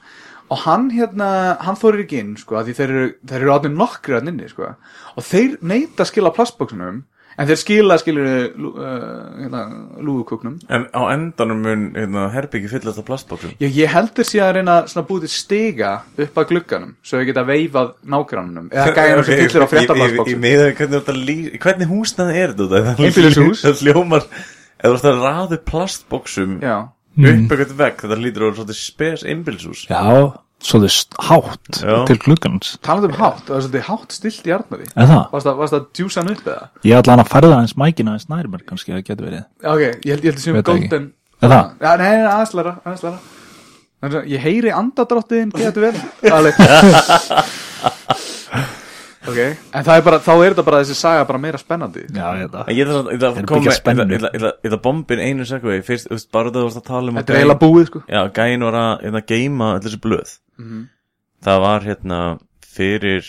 C: og hann hérna, hann þorir ekki inn sko, af því þeir eru, þeir eru átni nokkri að nynni, sko, og þeir neita að skila plastbóksunum, en þeir skila skilur við, lú- uh, hérna, lúðukúknum
B: En á endanum mun hérna, herbyggi fyllast af plastboxum.
C: Já, ég heldur sé að reyna svona búið til stiga upp að glugganum, svo ég geta veifað nágrannunum, eða gæðinu sem fyllir
B: Í,
C: á
B: í, í
C: fréttablaðsbóksum
B: miðað, við hvernig, er þetta lý- hvernig húsnað er þetta? Það-
C: Einbýlishús.
B: Það hljómar, eða þú ert að ráðu plastboxum
C: Já, Mm.
B: upp eitthvað vekk, þetta lítur á svolítið spes einbilshús.
D: Já, svolítið st- hátt
B: Já.
D: til gluggans
C: talandi um hátt, það var svolítið hátt stilt í Arnari
D: Er það?
C: Varst að, varst að djúsa hann upp eða?
D: Ég ætla hann að færða hans mækina hans nær mér kannski að geta verið
C: Ok, ég held, ég held að séum
D: Veit það ekki.
C: golden
D: Er það?
C: Já, nei, nei, aðeins læra, aðeins læra Þannig að Ég heyri andadráttiðin, getur vel Alveg Ok, en það er bara, þá er þetta bara þessi saga bara meira spennandi
D: Já, ég ætla
B: En Ég ætla- ég ætla
D: Þeir
B: að koma
D: byggja
B: með, ég ætla-
D: spennu.
B: ég ætla- ég ætla- ég ætla að bombin einu segvei, fyrst, þú veist, bara það varst að tala um að
C: Þetta er eiginlega búið, sko
B: Já, gæin var að hérna, geima öll þessi blöð
D: Mhm.
B: Það var hérna fyrir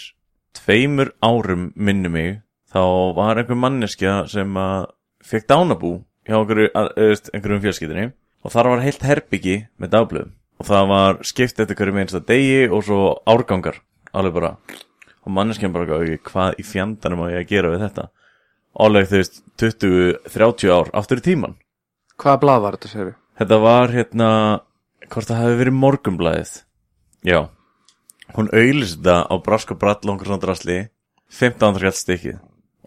B: tveimur árum minni mig þá var einhver manneskja sem að fekk dánabú hjá einhverju, að- þú veist, einhverjum fjölskyldinni og þar var heilt herbyggi með dagblöðum og það var skipt eftir hverju einsta degi og svo árgangar alveg bara og manneskjan bara gaf hvað í fjandanum á ég að gera við þetta alveg þú veist 20-30 ár aftur í tíman
C: Hvaða blað var þetta, segir við?
B: þetta var hérna hvort það hafi verið morgumblæðið já hún auðlist þetta á brask og brall og einhver svona drasli 15 þrætt stykkið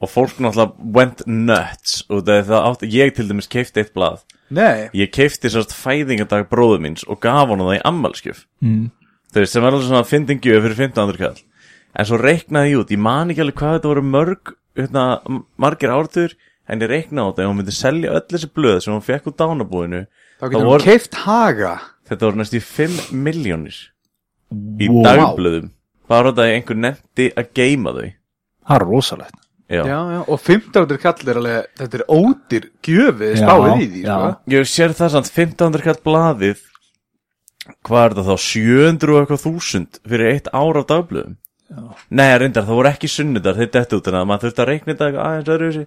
B: og fólk náttúrulega went nuts og það átt, ég til dæmis keifti eitt blað
C: Nei,
B: ég keifti sérst fæðingadag bróður míns og gaf hann það í ammalskjöf
D: mm.
B: þau sem var alveg svona fyndingjöf fyrir 15. kall en svo reiknaði ég út, ég man ekki alveg hvað þetta voru mörg hérna, m- margir ártur en ég reiknaði á þetta, ef hún myndi selja öll þessi blöð sem hún fekk úr dánabúinu
C: þá getur
B: voru-
C: hún keift haga
B: þetta voru næstu í 5 miljónir í
D: Wow.
B: dagblöðum bara þetta að einhver nefndi að geima þau
D: það er rosalegt
B: já.
C: já, já, og 1500 kall er alveg þetta er ódýr gjöfið
D: Já,
C: spáið í því
D: já.
C: sko.
B: ég sér það samt 15. kall blaðið hvað er það þá 700 og eitthvað þúsund fyrir eitt ár af dagblöðum Nei, reyndar, það voru ekki sunnudar, þeir dettu út en að maður þurfti að reikna þetta eitthvað aðeins öðru þessi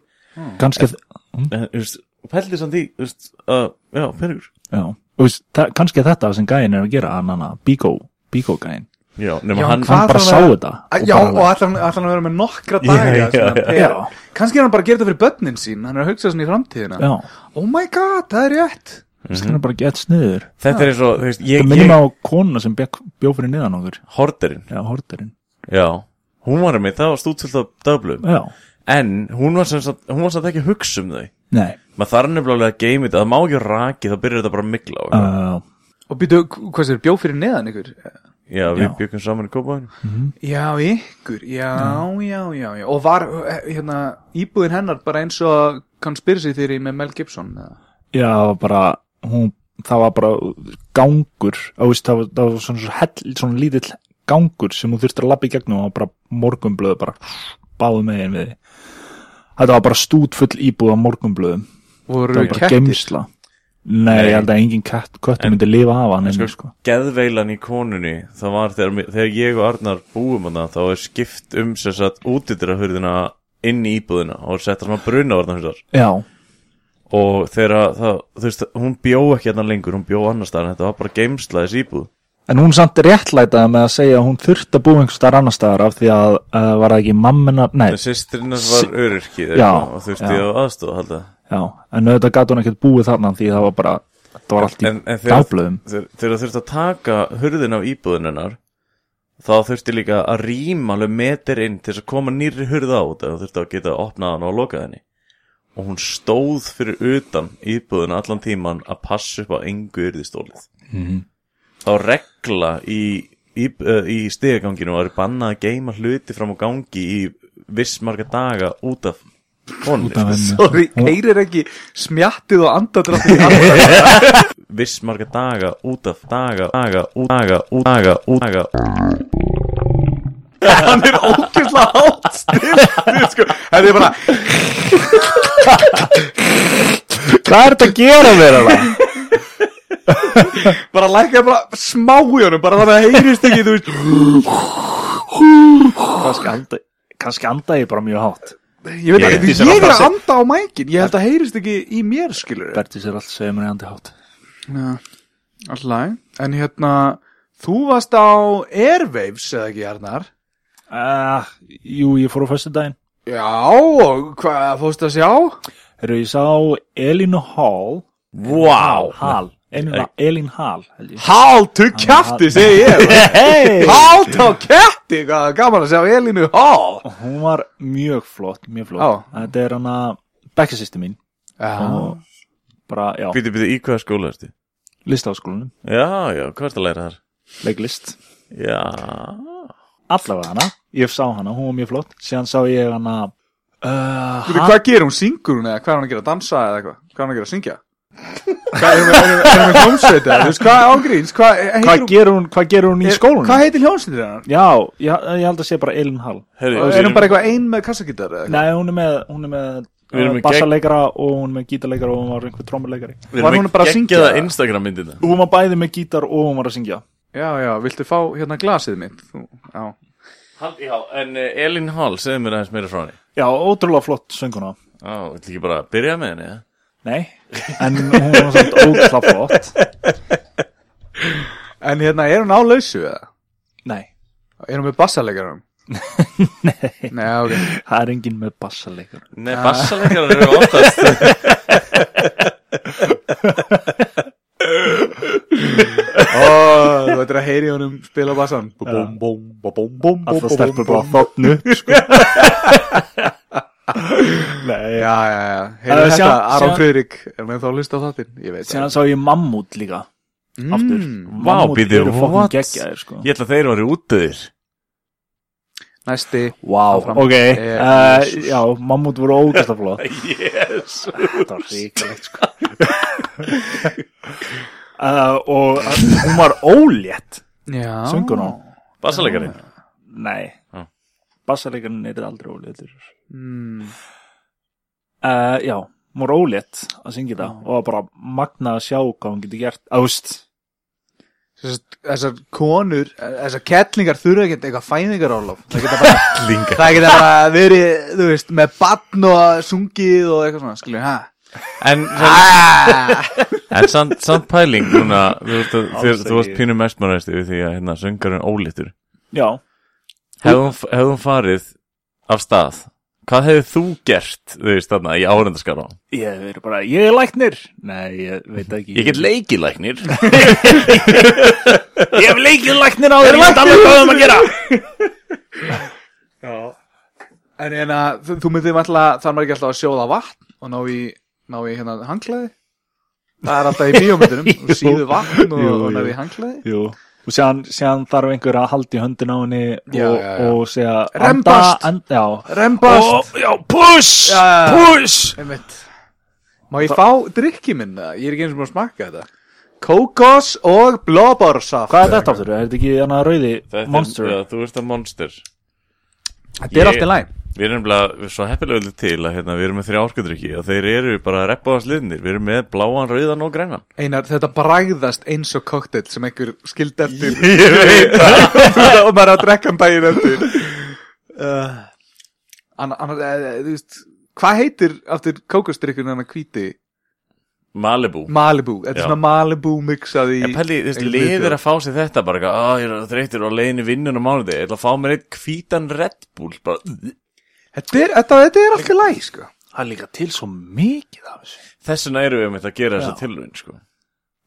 D: kannski
B: en, þú veist, pældi samt því, þú veist, að, já, peningur
D: já, Þú veist, það- kannski er þetta sem gæin er að gera hann hana, bíkó, bíkó gæin
B: Já, nema
C: Já,
B: hann,
C: hvað-
D: hann bara
C: þarf að-
D: sá þetta
C: Að- já,
D: bara-
C: og ætlar hann, ætlar hann að vera með nokkra
B: Já,
C: daga
B: já,
C: sem hann
B: já.
C: er-
D: Já.
C: kannski er hann bara að gera þetta fyrir börnin sín hann er að hugsa svona í framtíðina
D: já,
C: oh my god, það er rétt
D: kannski hann er bara gett sniður
B: þetta er eins og, þú veist,
D: það
B: ég,
D: minnum
B: ég,
D: á konuna sem bjó, bjó fyrir niðan okkur
B: horderinn,
D: já, horterinn
B: já, hún var með, það var stútfullt af dagblöðum,
D: já,
B: en hún var sem sagt, hún var samt ekki að hugsa um þau
D: nei,
B: maður þarf nefnilega að geima þetta, það má ekki raki þá byrjar þetta bara að migla og eitthvað.
D: uh,
C: og býtu, hvað sér, bjó fyrir neðan ykkur
B: já, við
D: já.
B: byggum saman í kópaðinu
C: já, ykkur, já, já, já, já. og var eh, hérna, íbúðin hennar bara eins og conspiracy theory með Mel Gibson eða?
D: já, það var bara hún, það var bara gangur á, veist, það, var, það var svona, svona, hell, svona lítill gangur sem hún þurfti að labba í gegnum og bara morgunblöðu bara báðu megin við þig. þetta var bara stútfull íbúð á morgunblöðum það
C: voru
D: var bara
C: kettir
D: geimsla nei, ég held að engin kett, köttu myndi lifa af hann
B: sko,
D: en,
B: sko.
D: sko.
B: geðveilan í konunni það var þegar, mi- þegar ég og Arnar búum hana, þá er skipt um sér satt útidrahurðina inn í íbúðina og setja svona bruna varna
D: já,
B: og þegar að það, þú veist, hún bjó ekki hérna lengur, hún bjó annar staðar en þetta var bara geimsla þessi íbúð
D: En hún samt réttlætaði með að segja að hún þurfti að búa einhvers staðar annar staðar af því að uh, var það ekki mammina, nei,
B: en sýstrinna var öryrki
D: Já,
B: og þurfti
D: já.
B: á aðstóð halda
D: já, en auðvitað gat hún ekkert búið þarna því það var bara, þetta var allt í
B: en, en þegar,
D: dagblöðum.
B: þegar, þegar þurfti að taka hurðin af íbúðunennar þá þurfti líka að rýma alveg metir inn til þess að koma nýri hurð á þetta og þurfti að geta að opna hann og loka henni og hún stóð fyrir utan íbúðuna allan tíman að passa upp á engu yrði stólið
D: Mhm.
B: þá regla í, í, uh, í stigaganginu var bannað að geima hluti fram á gangi í viss marga daga út af honum
D: Út af henni.
C: sorry, heyrir ekki smjattið og andadráttið
B: viss marga daga út af daga, daga, út daga, út daga, út daga
C: hann er ógeðslega hátt stiltur sko. þetta er bara
D: Hvað er þetta að gera mér það?
C: bara lækja bara smá í honum bara þannig að heyrist ekki þú veist
D: kannski, anda, kannski anda ég bara mjög hátt.
C: ég veit
B: Ég
C: ekki,
B: held ég sé
C: ég, er
B: bara að
C: að anda á mækin ég held að heyrist ekki í mér skilur
D: Bertis er allt segja mér í andi hátt.
C: alltaf, en hérna þú varst á Airwaves eða ekki Arnar
D: Uh, jú, ég fór á fyrstu daginn.
C: já, og hvað fórst að sjá
D: Þegar ég sá Elinu Hall,
B: Wow
D: Hall, Elinu, Elin Hall, held ég.
C: hál til kæfti, segi ég
D: Hey!
C: hál til kæfti, hvað gaman að sjá Elinu hál
D: Hún var mjög flott, mjög flott.
C: Já.
D: Þetta er hana, bekkasýsti mín.
C: já,
D: og bara, já,
B: Býti, býti, í hvaða skóla ertu?
D: listaháskólanum,
B: Já, já, hvað ertu að læra þar?
D: leiklist
B: Já
D: allavega hana, ég sá hana, hún var mjög flott síðan sá ég hana uh,
C: Veitu, hvað gerir hún? Syngur hún eða hvað er hún að gera? Dansa eða eitthvað? Hvað er hún að gera? Syngja? Hvað er hún- er hún er hún með hljómsveit eða? Þú veist, hvað ángríns? Hvað heitir
D: hvað gerur hún, hvað gerur hún í
C: er-
D: skólanum?
C: Hvað heitir hljómsveitir hennar?
D: já, ég, ég held að sé bara Elin Hall
B: Herri,
C: Og Er hún bara eitthvað ein með kassagítar eða eitthvað?
D: nei, hún er með, hún er
B: Við erum
D: með
B: með
D: uh, bassaleikara og hún er með gítarleikara og hún var einhver trómuleikari
B: Við
C: Var
B: erum
C: hún
B: ekki
C: bara að syngja
B: geggjaða
C: það?
B: Instagram myndina
D: hún var bæði með gítar og hún var að syngja
C: Já, já, viltu fá hérna glasið mitt? Þú- Já,
B: Já, en uh, Elin Hall, eh, segðu mér aðeins meira frá henni
D: Já, ótrúlega flott sönguna
B: Á, vil ekki bara byrja með henni? eða?
D: Nei, en hún var samt ótrúlega flott
C: En hérna, er hún á lausu eða?
D: Nei,
C: Er hún með bassalegarum? Nei Nei, ok
D: það er enginn með bassalegur
B: Nei, bassalegar eru oftast
C: Ó, þú ættir að heyri honum spila bassan Bum, bum, bum, bum, bum, bum,
D: Alltaf
C: bum,
D: stelpur
C: bum,
D: bara
C: bum.
D: þotnu sko. Nei,
C: Já, já, já,
D: Það
C: heyrðu þetta,
D: er sjá-
C: Aron
D: sjá-
C: Friðrik Er með þá að hlusta á þáttinn? Ég veit
D: síðan sá ég mammút líka
C: Mm.
D: aftur
B: Vá,
D: Mammút
B: býtu,
D: eru fucking
B: what?
D: geggjaðir, sko.
B: Ég ætla að þeir eru útöðir
C: Næsti
D: Vá,
C: Áfram.
D: ok,
C: Eh,
D: uh,
C: Jesus.
D: já, mammút voru ógæsta flott
B: Yes
D: Þetta var ríkulegt sko uh, Og hún var ólétt
C: Já
D: Sönguna
B: Bassalegarinn
D: Nei
B: Já.
D: Bassalegarinn er aldrei óléttur
C: Mm.
D: uh, Já, hún var ólétt að syngja það Og var bara magna að sjá hvað hún getur gert Þú veist
C: Þessar- Þessar konur, þessar kettlingar þurfa ekki eitthvað fæðingarólof Það geta bara
B: Linga
C: Það geta bara verið, þú veist, með bann og sungið og eitthvað svona, skilju, hæ?
B: En, en samt, samt pæling núna, þú, veist að- þér,
D: Alls
B: þú varst
D: ekki.
B: pínum mestmæðist yfir því að hérna, söngarinn ólítur
D: Já,
B: Hefðum hefðu farið af stað Hvað hefðu þú gert, þú veist þarna, í áhendaskara?
D: ég er bara, ég er læknir Nei, ég veit ekki
B: Ég get leikilæknir
D: Ég hef leikið læknir á þér Ég veit alveg hvað það að gera
C: En en að, þú, þú myndir alltaf, þar maður ekki alltaf að sjóða vatn og ná í, ná í hérna hanglaði. Það er alltaf í bíómyndunum, þú síðu vatn og,
D: Jú,
C: og ná
D: jú.
C: í hanglaði.
D: Jú Og séðan, séðan þarf einhver að haldi höndin á henni og,
C: Já, já, já.
D: og segja
C: Rembast.
D: anda, and, Já,
C: Rembast,
D: Ó, já, push,
C: Já, já, já.
D: push
C: einmitt. Má ég fá drikki minn það? Ég er ekki eins og mér að smakka þetta. Kókos og blóborsaft.
D: Hvað er þetta aftur? Er þetta ekki hana rauði monster?
B: ja, Þú veist að monster
C: Þetta er
B: Ég-
C: allt í læg.
B: Við erum nefnilega við erum svo heppilegulegt til að hérna, við erum með þrjá orkudrykki og þeir eru bara að reppa á sliðnir. Við erum með bláan, rauðan og grænan.
C: Einar, þetta bragðast eins og koktel sem einhver skild eftir Ég veit það Og maður er að drekka hann daginn eftir uh, anna, anna, uh, Þú veist Hvað heitir aftur kókustrykkun hann að hvíti?
B: Malibu.
C: Malibu, þetta
B: Já.
C: er svona Malibu mixað í
B: En pæli, þú veist,
C: einhvern
B: liðir
C: viðbjóð.
B: að fá sér þetta bara eitthvað, að ég er þreytir og leiðin í vinnun á mánuði, ég ætla að fá mér eitt hvítan Red Bull, bara,
C: Þetta er, þetta, þetta er alltaf læg, sko
D: Það er líka til svo mikið af þessu.
B: þess vegna erum við með að gera þessa
D: Já.
B: tilvinn, sko.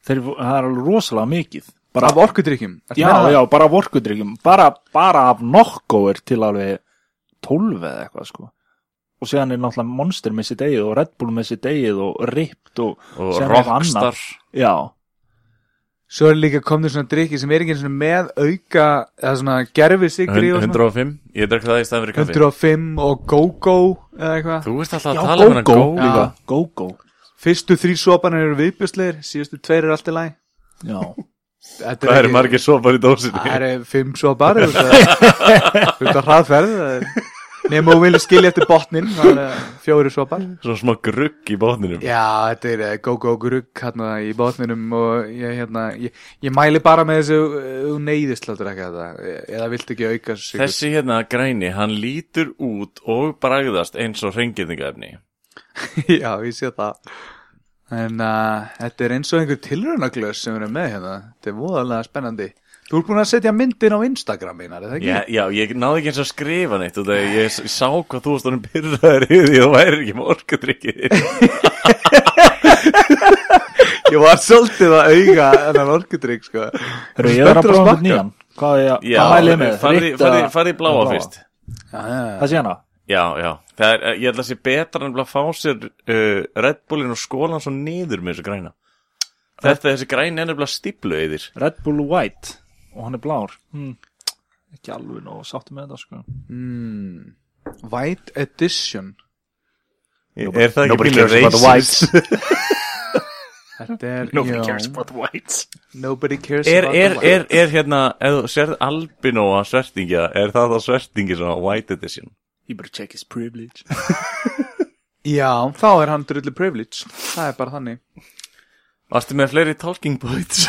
D: Þeir, það er alveg rosalega mikið. Bara,
C: Af orkudrykkjum ertu
D: já,
C: að meina
D: já,
C: það?
D: bara af orkudrykkjum. Bara, bara af nokko er til alveg 12 eða eitthvað, sko. Og séðan er náttúrulega Monster með sitt eigið og Red Bull með sitt eigið og Ripped og...
B: Og
D: Sem er annað.
B: Rockstar,
D: Já,
C: Svo er líka komnir svona drykki sem er ekki einu sinni með auka eða svona gerfi sigri
B: hun- 105, ég drekk það í staðan fyrir kaffi.
C: 105 og go-go eða eitthvað
B: Þú veist alltaf
D: já,
B: að tala um hennar
D: Go-Go
B: góð.
D: líka.
C: Já.
D: Go-Go,
C: Fyrstu þrý sopanir eru viðbjörsleir, síðustu tveir eru alltaf læg
D: já.
C: Þetta
B: Það eru
C: ekki-
B: margir sopar í dósinni.
C: Það eru fimm svo bara Þú veist að- þú veist að hraðferð það er- Nefnum og vilja skilja eftir botnin Fjóri svo bara
B: Svo smá grugg í bótninum.
C: Já, þetta er eh, go-go grugg hérna í botninum og ég, hérna, ég, ég mæli bara með þessu eh, þú neyðist látur ekki þetta eh, eða vilt ekki auka sig
B: Þessi hérna græni, hann lítur út og bragðast eins og reyngjendingafni.
C: Já, ég sé það En uh, þetta er eins og einhver tilraunaglös sem við erum með hérna Þetta er voðalega spennandi Þú ert búin að setja myndin á Instagram mínar, er það ekki?
B: Já, já, ég náði ekki eins að skrifa neitt og það ég s- sá hvað þú varst honum pyrraður yfir því að þú væri ekki með orkudrykkið þitt.
C: Ég var svolítið að auga þennan orkudrygg, sko
D: Þeir eru hérna. ég verið að
C: Spenntur að
D: prófa
C: smakka.
D: einhvern nýjan. Hvað er ég, hvað mælið með?
B: farði,
D: Reykt
B: farði,
D: eða-
B: farði í bláa fyrst
C: Já, já,
D: Það sé hana.
B: Já, já, það er, eh, ég ætla að sé betra en að fá sér uh, Red Bullin og skólan svo niður með þessu græna Þetta, þessi græn er nefnilega stíplu yfir
D: Red Bull White og hann er blár hmm. ekki alveg nóg sáttu með þetta sko
C: Mm, White Edition
B: Er það ekki pínu racist?
C: Þetta er,
D: Nobody
C: já,
D: cares about the whites
C: Nobody cares
B: Er,
C: about
B: er,
C: the
B: er, er hérna, ef þú sérð albinóa svertingja, er það það svertingi svona white edition?
D: You better check his privilege
C: Já, þá er hann drullu privilege Það er bara þannig
B: Varstu með fleiri talking points?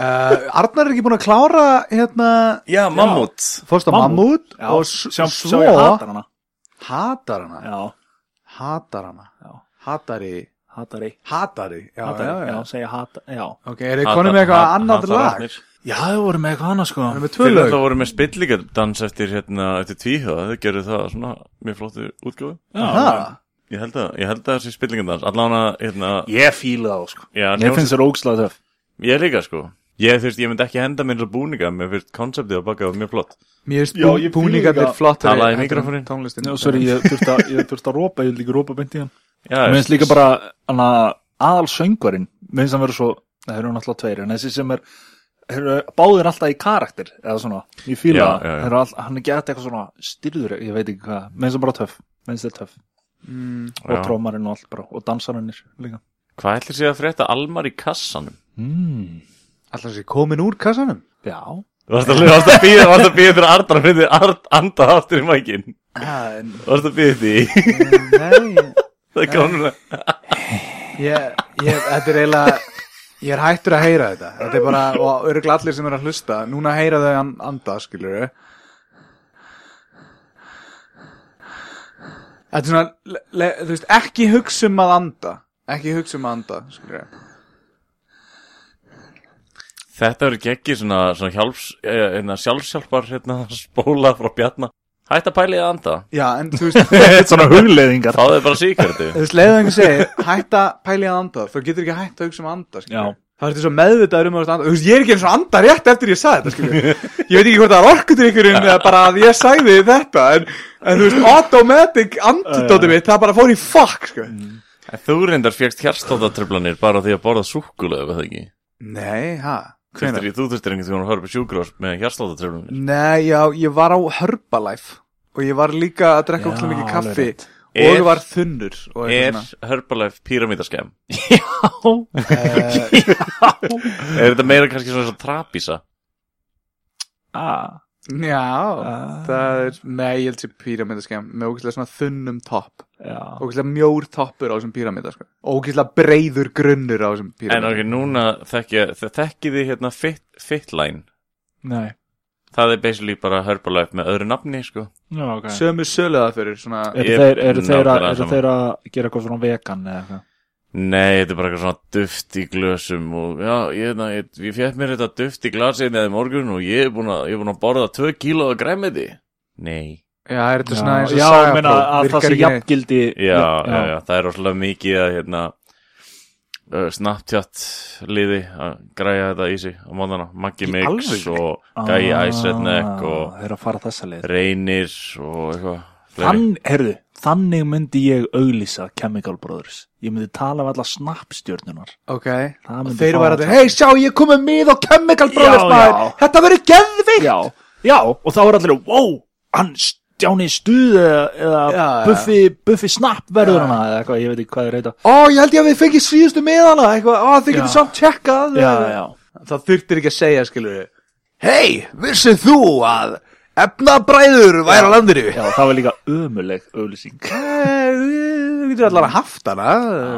C: uh, Arnar er ekki búin að klára hérna
B: já, mammut
C: Fórst á Mammut
D: Mammút. Já,
C: og s-
D: sjá,
C: svo
D: sjá ég hatar hana
C: hatar hana
D: já,
C: hatar hana
D: Já.
C: hatari
D: hatari
C: hatari, já,
D: hatari,
C: já, já.
D: segja hata, já
C: ok, er þið konum með eitthvað annað lag hann
D: já, þau voru með eitthvað annað sko
C: er með tvö
B: Fyrir
C: lög
B: það voru með spillingadans eftir, hérna, eftir tvíhjóða, þau gerðu það svona mjög flottu útgjóðu.
C: Ha?
B: Ég held að, ég held að þessi spillingadans, allavega, hérna,
D: ég fíla það sko
B: já,
D: ég
B: hljóms-
D: finnst þér ógslag þau
B: ég líka sko. Ég, þú veist, ég myndi ekki henda mér svo búninga, mér finnst konceptið að baka það mjög flott.
C: mér
D: Já, ég
C: er
D: fíla
C: búningarnir
D: líka-
C: flottari
B: Talaðu í
C: heldur en
B: mikrófóninn.
C: tónlistin
D: já, sorry, ég þurfti að, ég þurfti að rópa ég vil ekki rópa beint í hann
B: Já,
D: mér
B: ég-
D: finnst líka bara hana, aðal söngvarinn mér finnst hann vera svo, það eru náttúrulega tveir en þessi sem er eru, báðir alltaf í karakter eða svona, ég
B: Já,
D: fíla það
B: já, já.
D: Þeir eru all- hann er gett eitthvað svona styrður ég veit ekki hvað, mér finnst það bara töff mér finnst það töff,
C: mm,
B: Já.
D: og trómarinn og allt bara og dansarinnir líka
B: Hvað ætlir sig að frétta Almar í kassanum?
D: mm.
B: Hmm.
C: alltaf sé komin úr kassanum
D: já,
B: Varst að, varst að býða, varst að býða fyrir Arnar að finna Art, anda aftur í mækin
C: Ah, en-
B: Varst að býða því
C: nei, ég-
B: Það er gamla
C: ég, ég, þetta er eiginlega ég er hættur að heyra þetta þetta er bara, og öruglega allir sem eru að hlusta núna heyra þau an- anda, skilur þetta er svona le, le, þú veist, ekki hugsa um að anda ekki hugsa um að anda, skilur
B: Þetta verður geggi svona, svona hjálps, einna, sjálfsjálpar hérna, spóla frá bjarna Hætt að pæli að anda
C: já, en þú veist,
D: svona hugleðingar
B: Fáðu þið bara síkertu
C: þú veist leiðu einhver segir, hætta pæli að anda þú getur ekki hætt að hugsa um að anda,
D: Já.
C: skilur Það ertu svo meðvitaður um að þú ert að anda Þú veist, ég er ekki eins og anda rétt eftir ég sagði þetta, skilur Ég veit ekki hvort það er orkutrykkurinn eða bara að ég sagði þetta En, en þú veist, automatic antidóti mitt Það bara fór í fuck, sko
B: Þú reyndar fegst hjarstóttatröflanir bara því að borða súkkulega eða ekki
C: Nei, ha, hvenær?
B: Þurftir, Þú þurftir einhvern tímann að horfa upp sjúkrós með hjarstóttatröflanir
C: Nei, já, ég var á Herbalife Og ég var líka að drekka
D: Já,
C: óslega mikið
D: alveg
C: kaffi
D: rétt.
C: Og
B: Er-
C: var þunnur og
B: Er
C: eitthvað
B: Herbalife píramítaskem?
C: svona. Eh,
B: Er þetta meira kannski svona svo trapísa?
D: ah,
C: Já,
D: ah,
C: það er Nei, ég held sér píramindaskem Með ógeðslega svona þunnum topp
D: já.
C: Ógeðslega mjór toppur á þessum píramida sko. Ógeðslega breiður grunnur á þessum
B: En
C: píramida
B: ok, núna þekkja- þe- þekkið þið hérna fit, Fitline
D: nei,
B: Það er basically bara Herbalife með öðru nafni, sko.
D: já, ok
C: Sömu söluða fyrir svona
D: eru
B: Ég-
D: þeir, eru þeir, að,
B: nákvæmlega
D: eru
B: sama.
D: þeir að gera eitthvað svona vegan eða eitthvað
B: Nei, þetta er bara eitthvað svona duft í glösum og já, ég, na, ég, ég fekk mér þetta duft í glasið með í morgun og ég er búin að, ég er búin að borða 2 kíló af græmiði. Nei.
C: Já, er þetta svona eins og
D: já,
C: sagapróf?
D: ég meina að það sé
C: jafn
D: jafngildi
B: Já, já, já, það er rosalega mikið að hérna uh, Snapchat liði að græja þetta í sig á móðana. Maggi
C: Í
B: Mix
C: alvöru?
B: og Gæi
D: Ah,
B: Æsrednek og
D: þeir eru að fara þessa leið
B: Reynir og eitthvað. fleiri.
D: Þann, heyrðu, þannig myndi ég auglýsa Chemical Brothers ég myndi tala um alla snappstjörnunar
C: Ok,
D: Það
C: og
D: myndi
C: þeir
D: fá
C: væri að
D: þetta.
C: þeir, hei sjá ég komið mið og Chemical
D: Já,
C: Brothers maður,
D: já.
C: þetta verður geðvikt
D: já, já, og þá er allir wow, hann Stjáni Stuð eða, eða
C: Já, já.
D: Buffy, Buffy Snapp verður
C: Já.
D: hana eða eitthvað, ég veit ekki hvað þeir reyta
C: Ó, ég held ég að við fengið síðustu miðana, eitthvað, ó þið getur
D: Já.
C: samt tjekkað
D: já, já,
C: Það þurftir ekki að segja, skilur við Hei, vissið þú að efnabræður væri á landinu
D: já, það var líka ömuleg auglýsing
C: Eh, Þú getur allavega haft hana,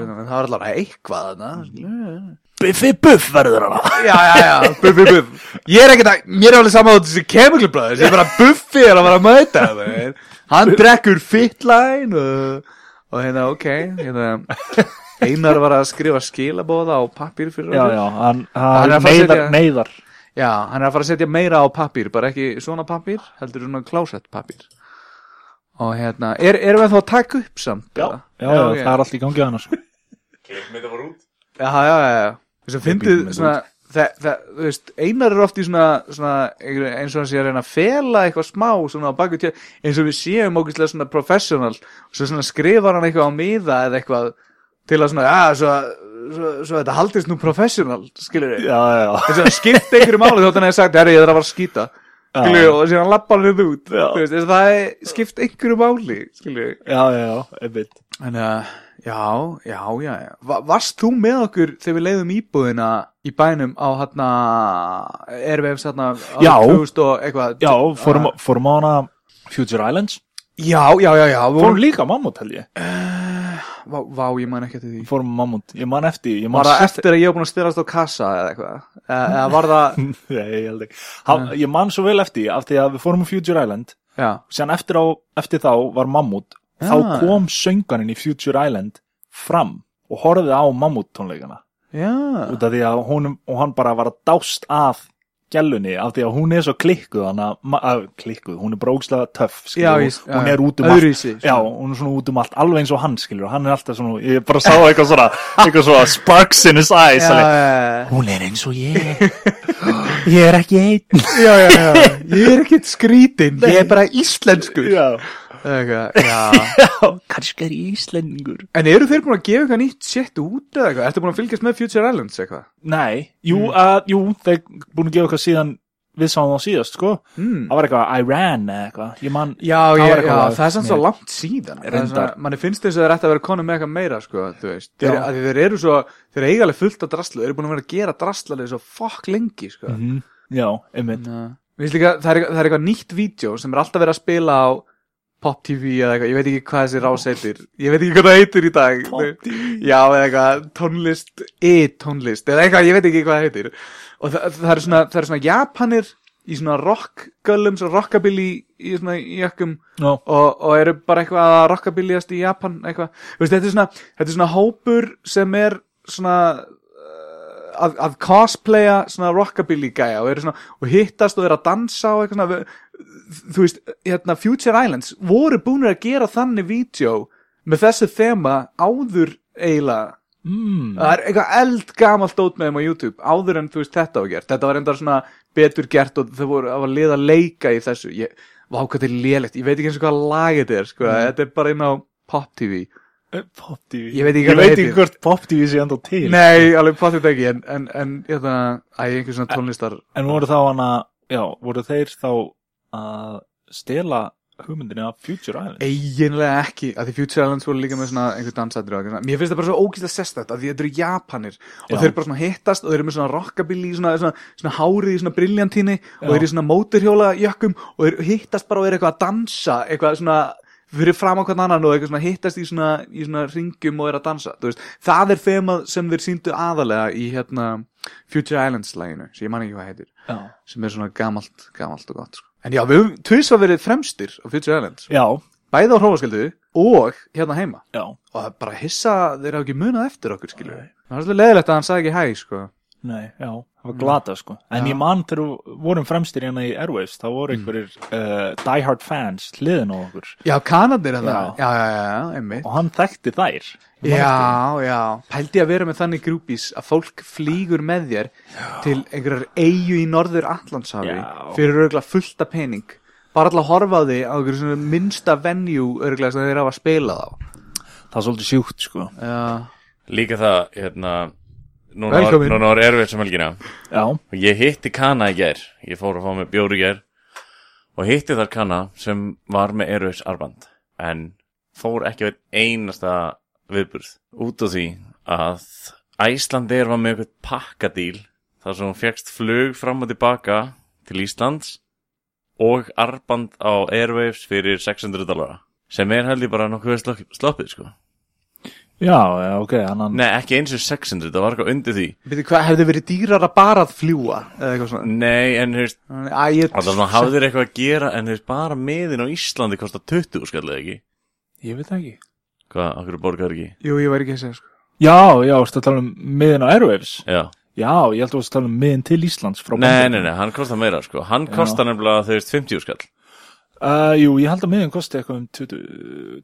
C: það var allavega eitthvað hana skilurðu.
D: Buffy Buff verður hana
C: Já, já, já, buff, buff, buff Ég er ekkert að, mér er alveg saman á þessi Chemical Brothers Ég er bara buffi er að vera að mæta þeim. Hann drekkur fitline og, og hérna, ok hérna, Einar var að skrifa skilabóða á pappír fyrir
D: já,
C: okkur.
D: já, hann,
C: er
D: hann
C: að fara að
D: neyðar,
C: setja-
D: neyðar
C: já, hann er að fara að setja meira á pappír Bara ekki svona pappír, heldur svona klásett pappír Og hérna, er, erum við þá að taka upp samt?
D: já,
C: eða?
D: já, já,
C: ok.
D: það er allt í gangi annars
C: Já, já, já, já. Þess að fyndið
D: bíddu með
C: svona, það, það, þú veist, einar er oft í svona, svona einhver- eins og hann sé að reyna að fela eitthvað smá svona á baku til, eins og við séum ógeðslega svona professional, svo svona skrifar hann eitthvað á miða eða eitthvað til að svona, já, svo, svo, svo þetta haldist nú professional, skilur við.
D: já, já, já
C: Þess að skipta einhverju máli þótt hann hefði sagt, herri, ég þarf að fara að skýta, skilur við, og síðan lappa hann hérna út,
D: Já.
C: þú veist, þess að það er skipt einhverju máli, skilur við.
D: já, já, já, einmitt
C: Þannig að, eh, já, já, já, já. Va Varst þú með okkur þegar við leiðum íbúðina í bænum á hérna, erum við hérna á
D: Já.
C: 2000 og eitthvað? Ah,
D: já, fórum, fórum á hana Future Islands
C: Já, já, já, já, við
D: fórum
C: vorum,
D: líka á Mammut held ég
C: vá, vá, ég man ekki eftir því.
D: fórum á Mammut, ég man eftir ég man
C: Var það
D: sérstak-
C: eftir að ég var búin að styrast á kassa eða eitthvað? E eða var það,
D: Nei, ég held ekki. Ha, ég man svo vel eftir því, af því að við fórum á Future Island
C: já,
D: og séðan eftir, á, eftir þá var Mammut þá kom sönganinn í Future Island fram og horfið á mammut tónleikana
C: já,
D: út af því að hún og hann bara var að dást að gælunni af því að hún er svo klikkuð hann að, ma- að klikkuð, hún er brókslega töff skilur,
C: Já,
D: hún-
C: víst, já,
D: hún
C: já.
D: er út um
C: Öðruvísi,
D: allt já, hún er svona út um allt, alveg eins og hann skilur, hann er alltaf svona, ég bara sá eitthvað svona eitthvað svona sparks in his eyes
C: já,
D: alveg,
C: já,
D: hún er eins og ég ég er ekki einn
C: já, já, já. ég er ekkert skrítin ég er bara íslenskur
D: já,
C: Eitthvað, já.
D: kannski er ég íslendingur
C: en eru þeir búin að gefa eitthvað nýtt shit út eða eitthvað, ertu búin að fylgjast með Future Islands eitthvað
D: nei, jú, að, jú þeir búin að gefa eitthvað síðan við sáum þá síðast, sko
C: mm.
D: það var eitthvað Iran eða eitthvað, ég
C: já,
D: man Það
C: já,
D: var
C: já,
D: eitthvað lag
C: það er samt svo
D: mér.
C: langt síðan Það er
D: Reyndar.
C: svona- manni finnst þess að þeir ætti að vera konum með eitthvað meira sko, þú veist, þeir,
D: Já.
C: að því þeir eru svo þeir eru eigalega fullt af drastlu, þeir eru búin að vera að gera drastlarið svo fokk lengi sko.
D: Mhm. já, einmitt
C: Nei. Mér finnst líka, það er, eitthvað- það er eitthvað nýtt vídeo sem er alltaf verið að spila á Pop TV eða eitthvað, ég veit ekki hvað þessi rás heitir ég veit ekki hvað það heitir í dag Pop TV Já, eða eitthvað tónlist e-tónlist, eða eitthvað, ég veit ekki hvað það heitir og það, það, er, svona, það er svona japanir í svona rockgöllum svo rockabilly í svona jökkum
D: Já.
C: og, og eru bara eitthvað að rockabiliast í Japan eitthvað, Þú veist, þetta er svona þetta er svona hópur sem er svona uh, að, að cosplaya svona rockabilly gæja og, eru svona, og hittast og er að dansa og eitthvað svona við- þú veist, hérna Future Islands voru búinir að gera þannig vídeo með þessu þema áður eiginlega
D: Mm.
C: það er eitthvað eldgamalt dót með þeim á YouTube áður en þú veist þetta var gert þetta var enda svona betur gert og þau voru að liða leika í þessu ég, vá hvað þetta er lélegt, ég veit ekki eins og hvað lag þetta er sko, þetta er bara inn á Pop TV
D: Pop TV
C: Ég veit ekki hvað það heitir.
D: hvort Pop TV sé enda til
C: nei, alveg potið ekki en, en, en hérna, æ, einhver svona tónlistar
D: En voru þá hann að Já, voru þeir þá að stela hugmyndinni af Future Island
C: eiginlega ekki, að því Future Islands voru líka með svona einhver dansættir og eitthvað svona. mér finnst það bara svo ógíslega sérstætt að því þetta eru japanir og
D: Já.
C: þeir bara svona hittast og þeir eru með svona rockabilly í svona, svona, svona hárið í svona briljantíni og
D: Já.
C: þeir eru í svona móturhjóla jökkum og þeir hittast bara og eru eitthvað að dansa eitthvað svona fyrir fram á hvern annan og eitthvað svona hittast í svona, í svona ringum og eru að dansa þú veist, það er þema sem þeir sýndu aðalega í hérna Future Islands læginu, sem ég man ekki hvað heitir
D: Já,
C: sem er svona gamalt, gamalt og gott sko. en já, við höfum tvisvar verið fremstir á Future Islands
D: já,
C: bæði á hrófaskildu og hérna heima
D: já.
C: og það er bara hissa að þeir hafa ekki munað eftir okkur skilju það var svolítið leðilegt að hann sagði ekki hæ sko.
D: Nei, já, það var glata sko En
C: Já.
D: ég man þegar við vorum fremstir hérna í Airwaves þá voru einhverjir uh, Die Hard fans hliðin á okkur
C: já, kanadir hann
D: Já.
C: já, já, já, já, einmitt
D: og hann þekkti þær Ég man eftir
C: já, já, pældi að vera með þannig grúpis að fólk flýgur með þér til einhverjar eigu í norður Atlantshafi
D: Já.
C: fyrir örgla fullta pening bara alltaf að horfa á því á einhverju svona minnsta venue örgla sem þeir hafa spilað á
D: því. Það er svolítið sjúkt sko
C: já,
B: Líka það, hérna Núna var,
C: Velkomin.
B: núna var erfitt sem helgina
D: Já,
B: og ég hitti Kana í gær ég fór að fá mig bjóri gær og hitti þar Kana sem var með Airways arband en fór ekki veit einasta viðburð út af því að Æslandeir var með eitthvað pakkadíl þar sem hún fegst flug fram og tilbaka til Íslands og arband á Airwaves fyrir 600 dollara sem er held ég bara nokkuð vel slopp- sloppið sko
D: já, já, ok hann, hann...
B: Nei, ekki eins og 600, það var eitthvað undir því
C: veitir hvað, hefði verið dýrar að bara að fljúa eða eitthvað svona
B: Nei, en þú veist
C: Æ, ég,
B: Alltaf svona hafðu þeir eitthvað að gera en þeir bara miðin á Íslandi kosta 20 skall eða ekki
D: Ég veit það ekki
B: Hvað, okkur borgar ekki?
C: Jú, ég var ekki að segja sko.
D: Já, já, ertu að tala um miðin á Airwaves
B: Já,
D: Já, ég held að þú varst að tala um miðin til Íslands frá
B: nei,
D: Bandaríkjunum.
B: nei, nei, hann kosta meira sko Hann kosta nefnilega þau veist 50 skall
D: Uh, jú, ég held að miðin kosti eitthvað um 20,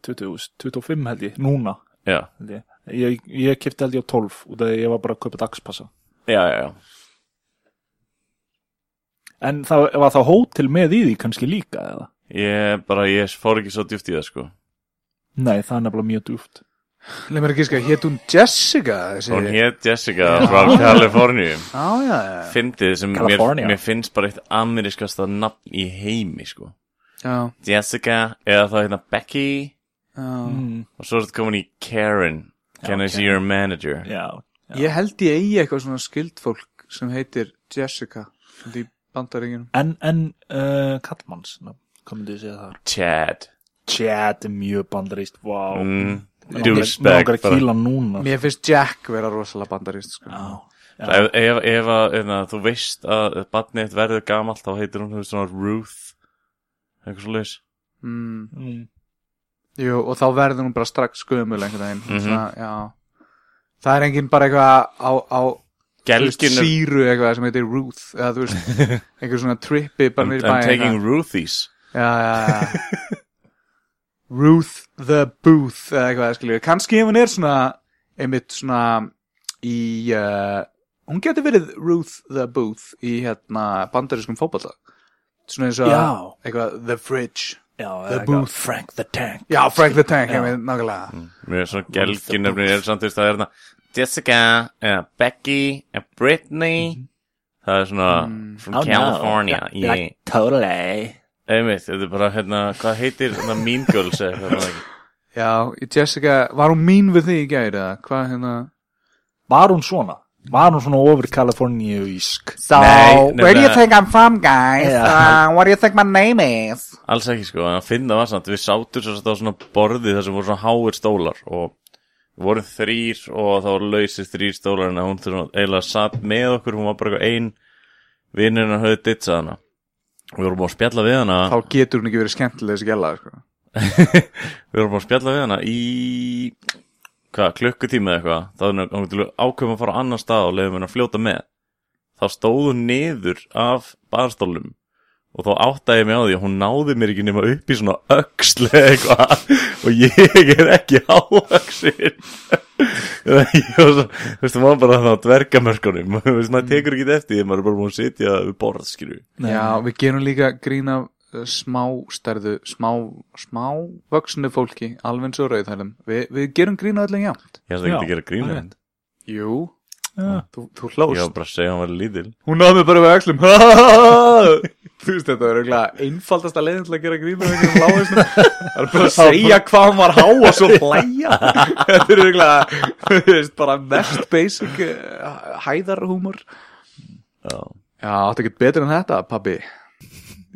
D: 20, 25 held ég, núna
B: Já,
D: held ég. Ég, ég kipti held ég á 12 út af því að ég var bara að kaupa dagspassa.
B: já, já, já
D: En það var það hótel með í því kannski líka eða?
B: Ég bara, ég fór ekki svo djúft í það sko
D: Nei, það er nefnilega mjög djúft.
C: Leif mér að gíska, hét hún Jessica þessi?
B: Hún hétt Jessica frá Kaliforníu
C: Á, já, já, já.
B: Fyndið sem mér,
D: California.
B: mér finnst bara eitt amerískasta nafn í heimi sko
C: já,
B: Jessica, eða þá hérna Becky
C: já.
D: Mm.
B: Og svo er þetta komin í Karen Can I see your manager?
D: Já,
C: Ég held ég eigi eitthvað svona skild fólk sem heitir Jessica í bandaringinum
D: en, en uh, Kallmanns, hvað myndið þið segja þar?
B: Chad
D: Chad er mjög bandaríst, vá. Mm.
B: mm,
D: Mér
B: Douchebag
D: langar að
B: bara.
D: kýla hann núna.
C: Mér finnst Jack vera rosalega bandarist sko.
D: Já,
B: Svo Ef, ef, ef að, hérna, þú veist að barnið þitt verður gamalt þá heitir hún þú veist, svona Ruth eitthvað svo leis
C: mm.
D: mm.
C: Jú, og þá verður hún bara strax skömmul einhvern veginn
B: Mhm.
C: Svona, já. Það er enginn bara eitthvað á, á þú veist,
B: Gelgin er
C: síru eitthvað sem heitir Ruth eða þú veist, einhver svona trippi bara
B: I'm,
C: mér í
B: I'm
C: bæin
B: taking
C: eitthvað.
B: Ruthies
C: Já, já, já Ruth the Booth eða eitthvað skilju, kannski ef hún er svona einmitt svona í uh, hún geti verið Ruth the Booth í hérna bandarískum fótballa svona eins og
D: Já.
C: eitthvað The Fridge
D: Já,
C: The Booth
D: Frank the Tank
C: Já, Frank the Tank,
D: Já.
C: ég veit nákvæmlega
B: Mér er svona gelgin nefnir er samt þú veist, það er hérna Jessica, uh, Becky, uh, Brittany
C: Mhm.
B: Það er svona
C: Mm.
B: From California yeah.
D: totally
B: Einmitt, þetta er bara hérna Hvað heitir hérna Mean Girls eða eitthvað, maður ekki?
C: Já, Jessica, var hún mín við þig í gæri eða hvað hérna
D: Var hún svona? Var hún svona over Kaliforníuísk?
C: So,
B: Nei, nei,
C: where do you
B: nei.
C: think I'm from, guys?
D: Yeah.
C: Uh, what do you think my name is?
B: Alls ekki sko, en að finna var samt Við sátum svo þetta á svona borði þar sem voru svona háir stólar og við vorum þrýr og þá voru lausir þrýr stólar en að hún þurfum eiginlega satt með okkur hún var bara eitthvað ein vinninn hann höfði dittsað hana og við vorum búin að spjalla við hana
C: Þá getur hún ekki verið skemmtileg þessi gæla, sko.
B: Við vorum búin að spjalla við hana í hvað, klukkutíma eða eitthvað þá er hún til ákveðum að fara á annan stað og leiðum henni að fljóta með þá stóð hún niður af barstólum og þá áttaði ég mig á því að hún náði mér ekki nema upp í svona öxl eða eitthvað og ég er ekki á öxir ég var svo, þú veist, maður bara þá dvergamörkunum, þú veist, maður tekur ekki eftir því maður er bara búin að sitja við borð, skilju
C: Já, við gerum líka grín af uh, smá stærðu, smá, smá vöksnu fólki, alveg eins og rauðhælum. Vi, við gerum grín af öllum játt.
B: ég hefði ekki að
D: Já,
B: gera Ah.
D: það er
B: grínu,
D: rétt.
C: Jú,
D: Já.
C: þú, þú
B: ég
C: hlóst.
B: var bara að segja að hann var lítil
C: Hún náði mig bara við öxlum. þú veist, þetta er eiginlega einfaldasta leiðin til að gera grín af öllum lágisnum. Það er bara að segja hvað hún var há og svo hlæja. þetta er eiginlega, þú veist, bara mest basic uh, hæðarhúmor.
B: Já.
C: Já, áttu ekkert betur en þetta, pabbi.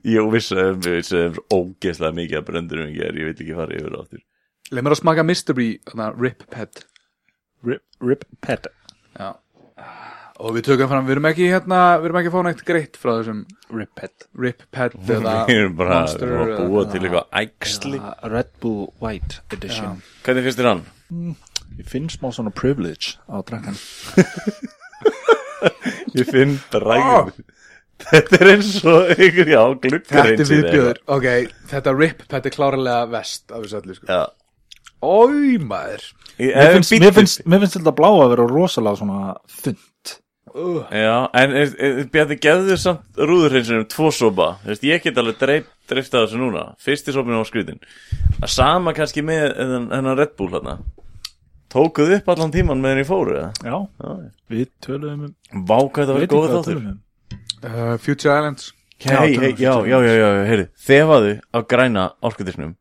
B: Jú, vissuðum, við vissuðum ógeðslega mikið að brendurum ekki er, ég veit ekki fara yfir áttur.
C: Leð mér að smaka mystery, þannig að rip pet.
D: Rip, rip pet
C: Já. Og við tökum fram, við erum ekki hérna, við erum ekki að fá neitt greitt frá þessum
D: Rip pet
C: Rip Pet eða
B: Við erum bara
C: Ah, Monster ah.
B: við erum að búa
C: eða-
B: til eitthvað æxli.
D: uh, Red Bull White Edition
B: Hvernig finnst þér hann?
D: Ég finn smá svona privilege á drakkan
B: Ég finn drægum. Þetta er eins og ykkur, já, gluggar
C: Ah. Þetta er viðbjöður, ok, þetta Rip Pet er klárlega vest af þessu öllu sko
B: Já.
C: Ói maður
B: Ég,
D: Mér finnst, mér finnst, mér finnst þetta blá að vera rosalega svona þund
C: uh,
B: Já, en er- er- Bjarni, gefðu þér samt rúðurhreinsunum tvo sopa. Þú veist, ég get alveg dreif, dreift að þessu núna. Fyrsti sopinu á skrítin. Að sama kannski með hennan Red Bull hérna. Tókuðu upp allan tíman með henni fóru, eða?
D: Já, við töluðum um
B: Vá, hvað þetta
D: Veit
B: var
D: ekki
B: góð
D: hvað
B: þáttur.
D: töluðum um
C: Uh, Future Islands
B: Hei,
D: Já,
B: hei, já, já, já, já, já, heyri Þefaðu á græna orkudisnum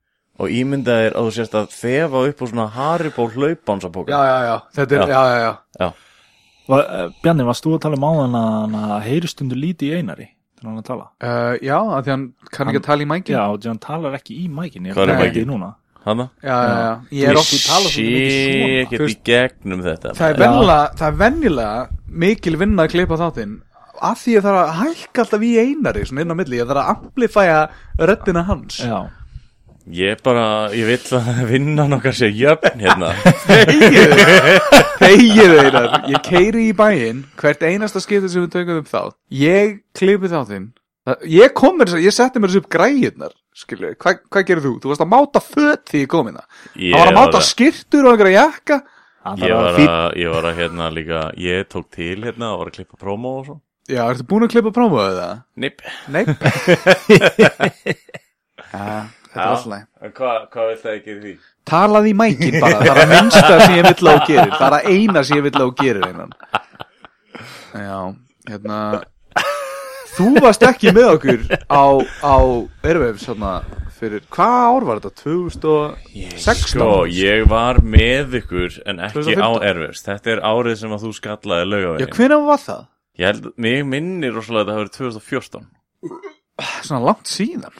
B: og ímyndaðir að þú sérst að þefa upp á svona Haribo
C: Já,
B: hlaupbánsapóka
C: já, já, þetta er,
B: Já.
C: já, já, já
D: Var, uh, Bjarni, varst þú að tala um áðan að hann að heyristundu líti í einari þegar hann er að tala?
C: uh, Já, af því hann kann ekki
D: Hann-
C: að tala í mængi
D: Já, því hann talar ekki í mækin Ég
B: Hvað
C: er í
D: pæli
B: mækinn?
D: í núna
B: Hanna?
C: já, já, já. Ég er oft
B: sé
C: Þú
B: ekkert í
C: veist-
B: gegnum þetta
C: Það er
D: Já.
C: venjulega, það er venjulega mikil vinna að klippa þáttinn af því ég þarf að hækka alltaf í einari svona inn á milli, ég þarf að amplifæja röddina hans
D: Já,
B: Ég bara, ég vill að vinna nokkar sé jöfn hérna
C: Þegið einar Ég keiri í bæinn hvert einasta skipti sem við tökum upp þá Ég klippi þáttinn Það- Ég kom mér, ég setti mér þessu upp græðnar Skilju, Hva, hvað gerir þú? Þú varst að máta föt því ég kom hérna
B: Ég
C: Það var að máta
B: að-
C: skyrtur og einhverja jakka
D: hann
B: Ég
D: þarf
B: var
D: að fýta
B: að, ég var að hérna líka Ég tók til hérna og var að klippa promo og svo
C: Já, ertu búin að klippa prófaðu það?
B: Nipp
C: Nei Já, þetta er
B: Já.
C: alltaf læg
B: Hvað hva vill það ekki því?
C: Talað í mækin bara, það er að minnsta sem ég vill að þú gerir Það er að eina sem ég vill að þú gerir einan Já, hérna Þú varst ekki með okkur á, á Erfeifs hérna fyrir, hvað ár var þetta? 2016?
B: Sko, ég var með ykkur en ekki á
C: 2015.
B: erfist Þetta er árið sem að þú skallaði
C: Já,
B: laugavegin
C: hvenær var það?
B: Ég held, mig minnir rosalega að það hafi verið 2014
C: Svona langt síðan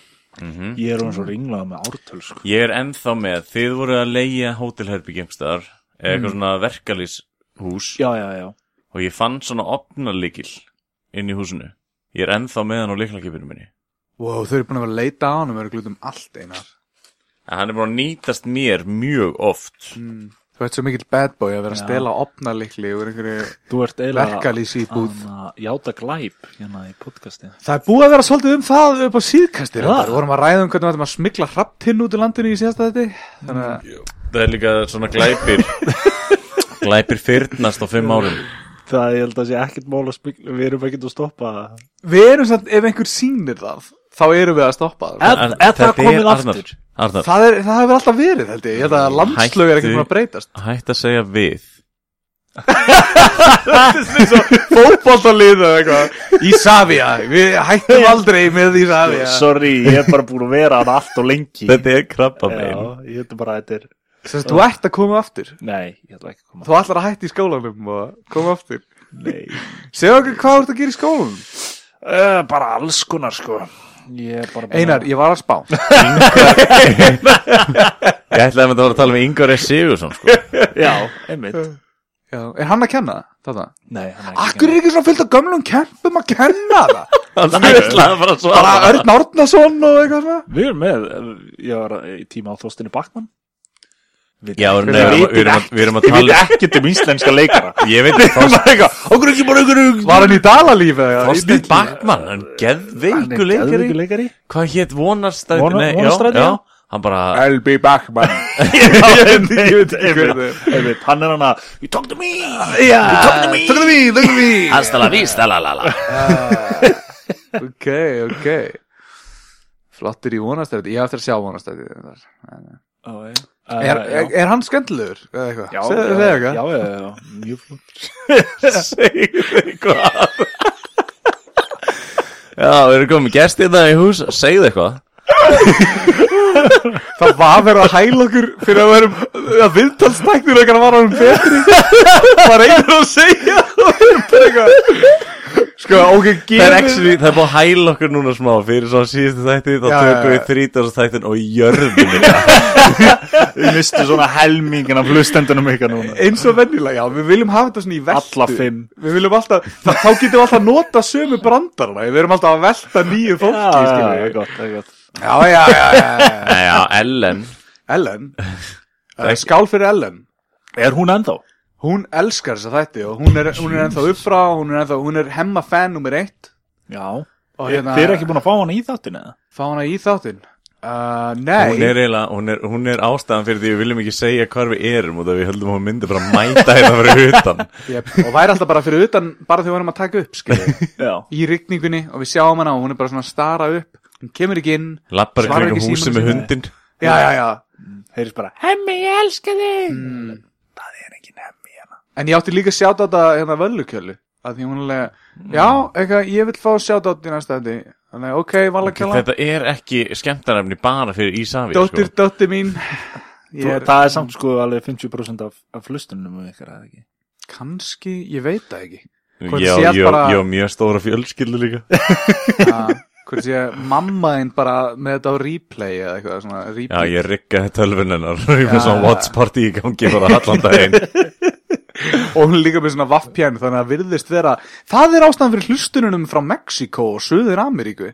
D: Ég er hún svo ringlað með ártöl sko.
B: Ég er ennþá með, þið voru að leigja hótelherbyggjumstæðar eða eitthvað svona verkalýshús
D: Mhm. Já, já, já
B: og ég fann svona opnarlíkil inn í húsinu Ég er ennþá með hann á líklakipinu minni
C: Wow, þau eru búin að vera að leita á hann og vera glutum allt einar
B: En hann er búin að nýtast mér mjög oft
D: Mm.
C: Þú ert svo mikill bad boy að vera að stela opnalikli úr einhverju
D: Þú ert eiginlega
C: Verkalýðsíbúð.
D: hana, Játa glæp hérna í podcasti
C: Það er búið að vera svolítið um það upp á síðkastir
D: Já.
C: Við vorum að ræða um hvernig við ætlum að smikla hrapptinn út í landinu í síðasta þetta Þannig að
B: Það er líka svona glæpir Glæpir fyrnast á fimm árum
D: Það ég held að sé ekkert mál að spikla Við erum ekkert að stoppa það.
C: við erum samt, ef einhver sýnir það Þá erum við að stoppa það
D: En- en það
B: þetta
D: komið
B: er Arnar,
D: aftur?
B: Arnar,
C: Það, er, það hefur alltaf verið held ég Ég held að landslög er
B: Hættu.
C: ekkert búin að breytast
B: hætt að segja við
C: Fótboltalið eða eitthvað Ísavia, við hættum aldrei með Ísavia
D: Sorry, ég er bara búin að vera hann allt og lengi
B: Þetta er krabba
D: Já,
B: megin
D: ég held bara að þetta er
C: Sess, Þú ert að koma aftur
D: Nei, ég ætla ekki að koma
C: Þú ætlar að hætta í skólanum og koma aftur
D: Nei
C: Segðu okkur hvað þú ert að gera í skólanum
D: uh, Bara alls konar sko Ég er bara búin
C: Einar, ég var að spá
B: Ég ætlaði að þetta var að tala með Ingvar S. Sigursson sko.
D: að Já, einmitt
C: Já, er hann að kenna það?
D: Nei, hann er
C: Akkur er
D: ekki
C: ekki svona fyllt af gömlum kempum að kenna það?
B: Hann ætlaði bara að svara
C: Bara Örn Árnason og eitthvað svona?
D: Við erum með, eh, ég var í tíma á Þóstinni Bakman
B: Já, nei, við,
D: Við vitum
B: við, erum að, við erum að
D: Ég veit
B: tala
D: ekkert um íslenska leikara
B: Ég veit það
D: Okkur ekki bara okkur
C: Var hann í Dalalífi eða?
B: Þorstein Bakman, hann geðveiku leikari
D: leikari
B: Hvað hétt Vonarstæti?
D: Vonar-
B: Nei, já,
D: Vonarstræti,
B: já.
D: já.
B: Hann bara,
C: L.B. Bachmann
D: Einmitt, Ah. Hann er hann að You talk to me
C: Tökum því, tökum því
E: Hasta la vista, la la la.
C: Ok, ok Flottir í vonastæti, ég á eftir að sjá vonastæti
D: Ó, já.
C: Er,
D: Eh,
C: er, er hann skemmtilegur? eða eitthvað?
D: Já,
C: Segðu
D: já,
C: þig eitthvað?
D: já, já, já, mjög flott
B: já, við erum komið gestið það hérna í hús Segðu eitthvað
C: Það var verið að hæla okkur fyrir að verum að viðtalstæknir eitthvað var hann betri Það var einhver að segja og við erum bara eitthvað Sko, ok,
B: Það er
C: gefið
B: actually, það er búið að hæla okkur núna smá Fyrir svo síðustu þætti, þá
C: Já,
B: tökum
C: já,
B: við
C: já.
B: þrítast þættin Og jörðum þetta
D: Við mistu svona helmingin af hlustendunum ykkar núna
C: eins og vennilega, já, við viljum hafa þetta svona í veltu
D: Alla fimm.
C: Við viljum alltaf, þá, þá getum við alltaf nota sömu brandarana Við erum alltaf að velta nýju fólki,
D: Já, já,
C: skilur
D: já,
C: við
D: gott, það er gott
C: Já, já, já, já, já.
B: Nei, já, Ellen
C: Ellen uh, Skál fyrir Ellen
D: Er hún ennþá?
C: Hún elskar þessa þætti og hún er, hún er ennþá uppfrá, hún er ennþá, hún er hemma fan nummer eitt
D: Já
C: Og hérna-
D: Þið eru ekki búin að fá hana í þáttin eða?
C: Fá hana í þáttinn? Uh, nei,
B: Hún er eiginlega, hún er, hún er ástæðan fyrir því Við viljum ekki segja hvar við erum Og það við höldum að hún myndi bara mæta hérna fyrir utan
C: yep. og væri alltaf bara fyrir utan bara þegar við erum að taka upp skilur,
D: Já
C: í rigningunni og við sjáum hana og hún er bara svona að stara upp hún kemur ekki inn
B: Lappar
C: Svarar
B: kringum
C: ekki
B: húsi
C: símanum
B: með
C: sínum.
B: hundin
C: já, já, já.
D: Heyrðis bara Hemmi, ég elska þig Það er ekki hemmi hérna
C: en ég átti líka sjátt á þetta hérna völlukjölu að því hún er alveg,
B: Hmm.
C: já, eitthvað, ég vil fá sjátt á þetta í næsta þetta þannig, ok, valakjöla,
B: Þetta er ekki skemmtarnefni bara fyrir sko. Ísafi
C: dóttir, dóttir mín ég
D: Þú,
C: er,
D: Það er samt sko alveg 50% af, af hlustunum um ykkar eða ekki
C: kannski, ég veit það ekki
B: sko.
C: Hvort
B: Já,
C: sér
B: ég
C: bara-
B: ég á mjög stóra fjölskyldu líka
C: að, hvernig Ah, sé, mamma þín bara með þetta á replay eða eitthvað svona,
B: Já,
C: replay
B: ég riggaði tölvun hennar Ég með svona watch party í gangi bara allan daginn
C: og hún er líka með svona vaffpjæn þannig að virðist vera það er ástæðan fyrir hlustununum frá Mexiko og Suður Ameríku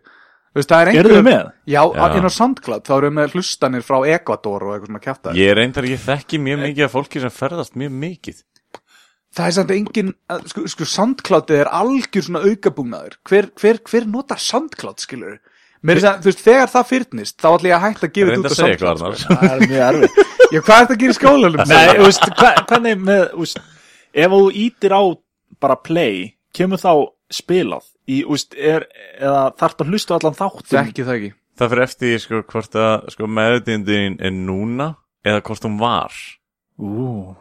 C: Veist, það er einhver...
D: Eru þau með?
C: Já,
B: Já.
C: inn á SoundCloud, þá erum við með hlustanir frá Ecuador og eitthvað svona kjæftar
B: Ég er reyndar, ég þekki mjög mikið af fólki sem ferðast mjög mikið
C: Það er samt engin, að- sko, sko SoundCloud er algjör svona aukabúnaður hver, hver, hver notar SoundCloud, skilur Mér er það, þú veist, þegar það fyrnist þá ætla ég að hætta að gefa
B: Reynda
C: þetta
B: að
C: út
B: segja
C: á
B: eitthvað
C: SoundCloud
B: annars
D: Það er mjög erfið
C: sko. Já, hvað er þetta að gera í skólanum?
D: Nei, þú veist, hva, hvernig með, þú veist, ef þú ítir á bara play, kemur þá spilað í, þú veist, er, eða þarf að hlusta á allan þáttum.
C: Þekki það ekki
B: Það fyrir eftir því, sko hvort að sko, meðutindin er núna eða hvort hún var
D: Ú.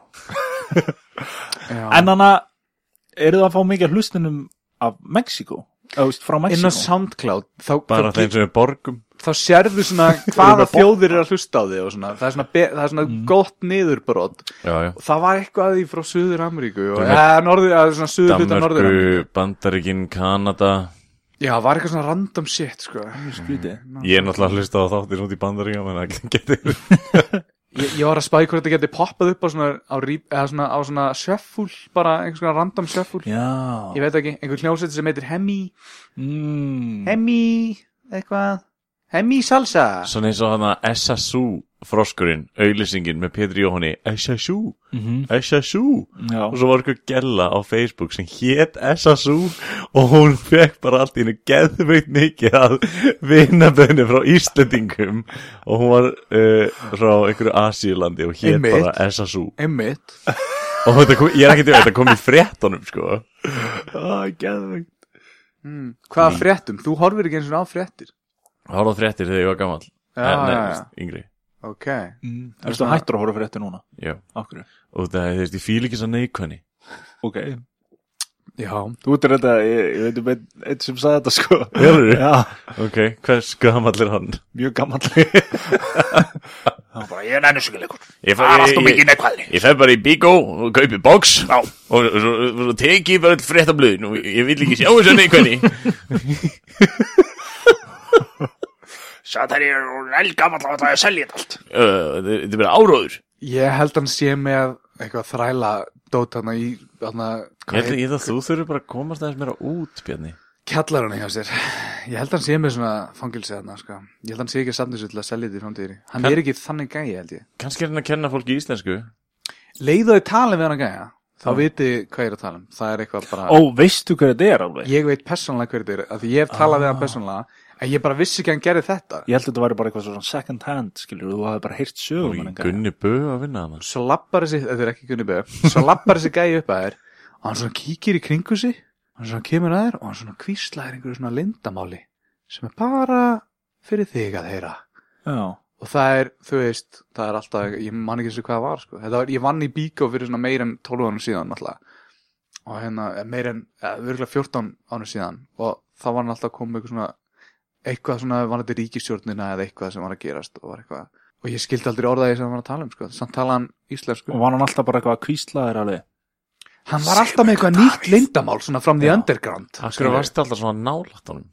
C: Já.
D: En þannig að, eru það að fá mikið af hlustunum af Mexíkó? Eða, þú veist, frá
C: Inn á
D: Mexíkó?
C: SoundCloud þá,
B: bara
C: þá,
B: þeim sem við borgum
C: þá sérðu svona hvaða
D: með botn.
C: þjóðir er að hlusta á þig og svona, það er svona, be- það er svona gott niðurbrot
B: Já, já
C: og það var eitthvað að því frá Suður Ameríku og,
B: Já,
C: ja, norður, eða svona Suður hluta Norður Ameríku
B: Danmörku, Bandaríkin, Kanada
C: já, það var eitthvað svona random shit sko.
D: Skrítið.
B: Ég er náttúrulega að hlusta á þáttir út í Bandaríka menn að geti
C: ég, ég var að spæði hvort þetta geti poppað upp á svona, á, rí, eða svona, á svona shuffle, bara einhvers svona random shuffle
D: Já.
C: ég veit ekki, einhver hljóset sem heitir Hemi
D: Mm.
C: Hemi, eitthvað Hemi Salsa
B: Svona eins og hana SSU froskurinn, auðlýsingin með Pétur Jóhanni Eshasú,
D: Mhm.
B: Eshasú
D: Já.
B: og svo var eitthvað gella á Facebook sem hét Eshasú og hún fekk bara allt í hennu geðveitt mikið að vinabönni frá Íslendingum og hún var uh, frá einhverju Asílandi og hét
C: Einmitt.
B: bara Eshasú
C: Einmitt
B: og þetta kom, ég er ekki til þetta kom í fréttunum sko Það er geðveitt
C: mm. Hvaða fréttum? Þú horfir ekki eins og á fréttir
B: Hálfað fréttir þegar ég var gammal
C: Já,
B: Nei,
C: já, já,
B: yngri
C: ok
D: Mm. Erstu hættur að horfa fyrir þetta núna?
B: Já.
D: Af hverju?
B: og það er því fíl ekki svo neikvæni
D: Ok.
C: Já,
D: Þú ert þetta, ég, ég veit um einn, einn sem sagði þetta sko.
B: Hefurðu?
D: Já,
B: ok, hvers gamall er hann?
D: mjög gammalli.
E: Ég er næmi svo ekki leikur.
B: Ég
E: Það er allt og sko mikið neikvæðni.
B: Ég fer bara í bíkó og kaupi bóks og svo, svo teki ég bara öll fréttablöðin og ég vil ekki sjá þessu neikvæðni
E: Satt þær ég er elgamall að það er að selja þetta allt.
B: Uh, Þetta þetta er bara áróður
C: ég held hann sé með eitthvað þræla dót hann í hana,
B: Ég held ég held að þú þurfur bara að komast aðeins meira út, Bjarni
C: kjallar hann hjá sér ég held hann sé með svona fangilsi þarna sko. ég held hann sé ekki samtis til að selja þetta í framtíðri hann
B: Hvern-
C: er ekki þannig gæi held ég
B: Kannski er hann að kenna fólki í íslensku
C: leiðu þau tala við hann gæja þá viti hvað ég er að tala um það er eitthvað bara
D: Ó, veistu hvað þetta er alveg?
C: ég veit persónulega hver þetta er af því ég hef talað
B: Ah.
C: við hann persónulega en ég bara vissi ekki að hann gerði þetta
D: Ég held að þetta væri bara eitthvað svona second hand, skilur, þú hafði bara heyrt sögum hann
B: Og Gunni Bö að vinna hann
C: svo lappar þessi, þetta er ekki Gunni Böð svo lappar þessi gæi upp að þér og hann svona kíkir í kringu sig hann svona kemur að þér og hann svona kvíslaðir einhverju svona lindamáli sem er bara fyrir þig að heyra
D: Já.
C: og það er, þú veist, það er alltaf ég man ekki eins og hvað það var, sko þetta var, ég vann í bíkó fyrir svona meir en 12 ánum síðan alltaf. og hérna, eh, meir en virkulega 14 ánum síðan og þá var hann alltaf að koma með eitthvað svona eitthvað svona, var þetta ríkistjórnina eða eitthvað sem var að gerast og var eitthvað og ég skildi aldrei orðaði sem hann var að tala um, sko samt tala hann íslensku
D: Og var hann alltaf bara eitthvað að kvísla þér alveg?
C: hann var alltaf með eitthvað nýtt lindamál svona fram því
D: Já.
C: underground
B: Akkur varst alltaf svona nálætt honum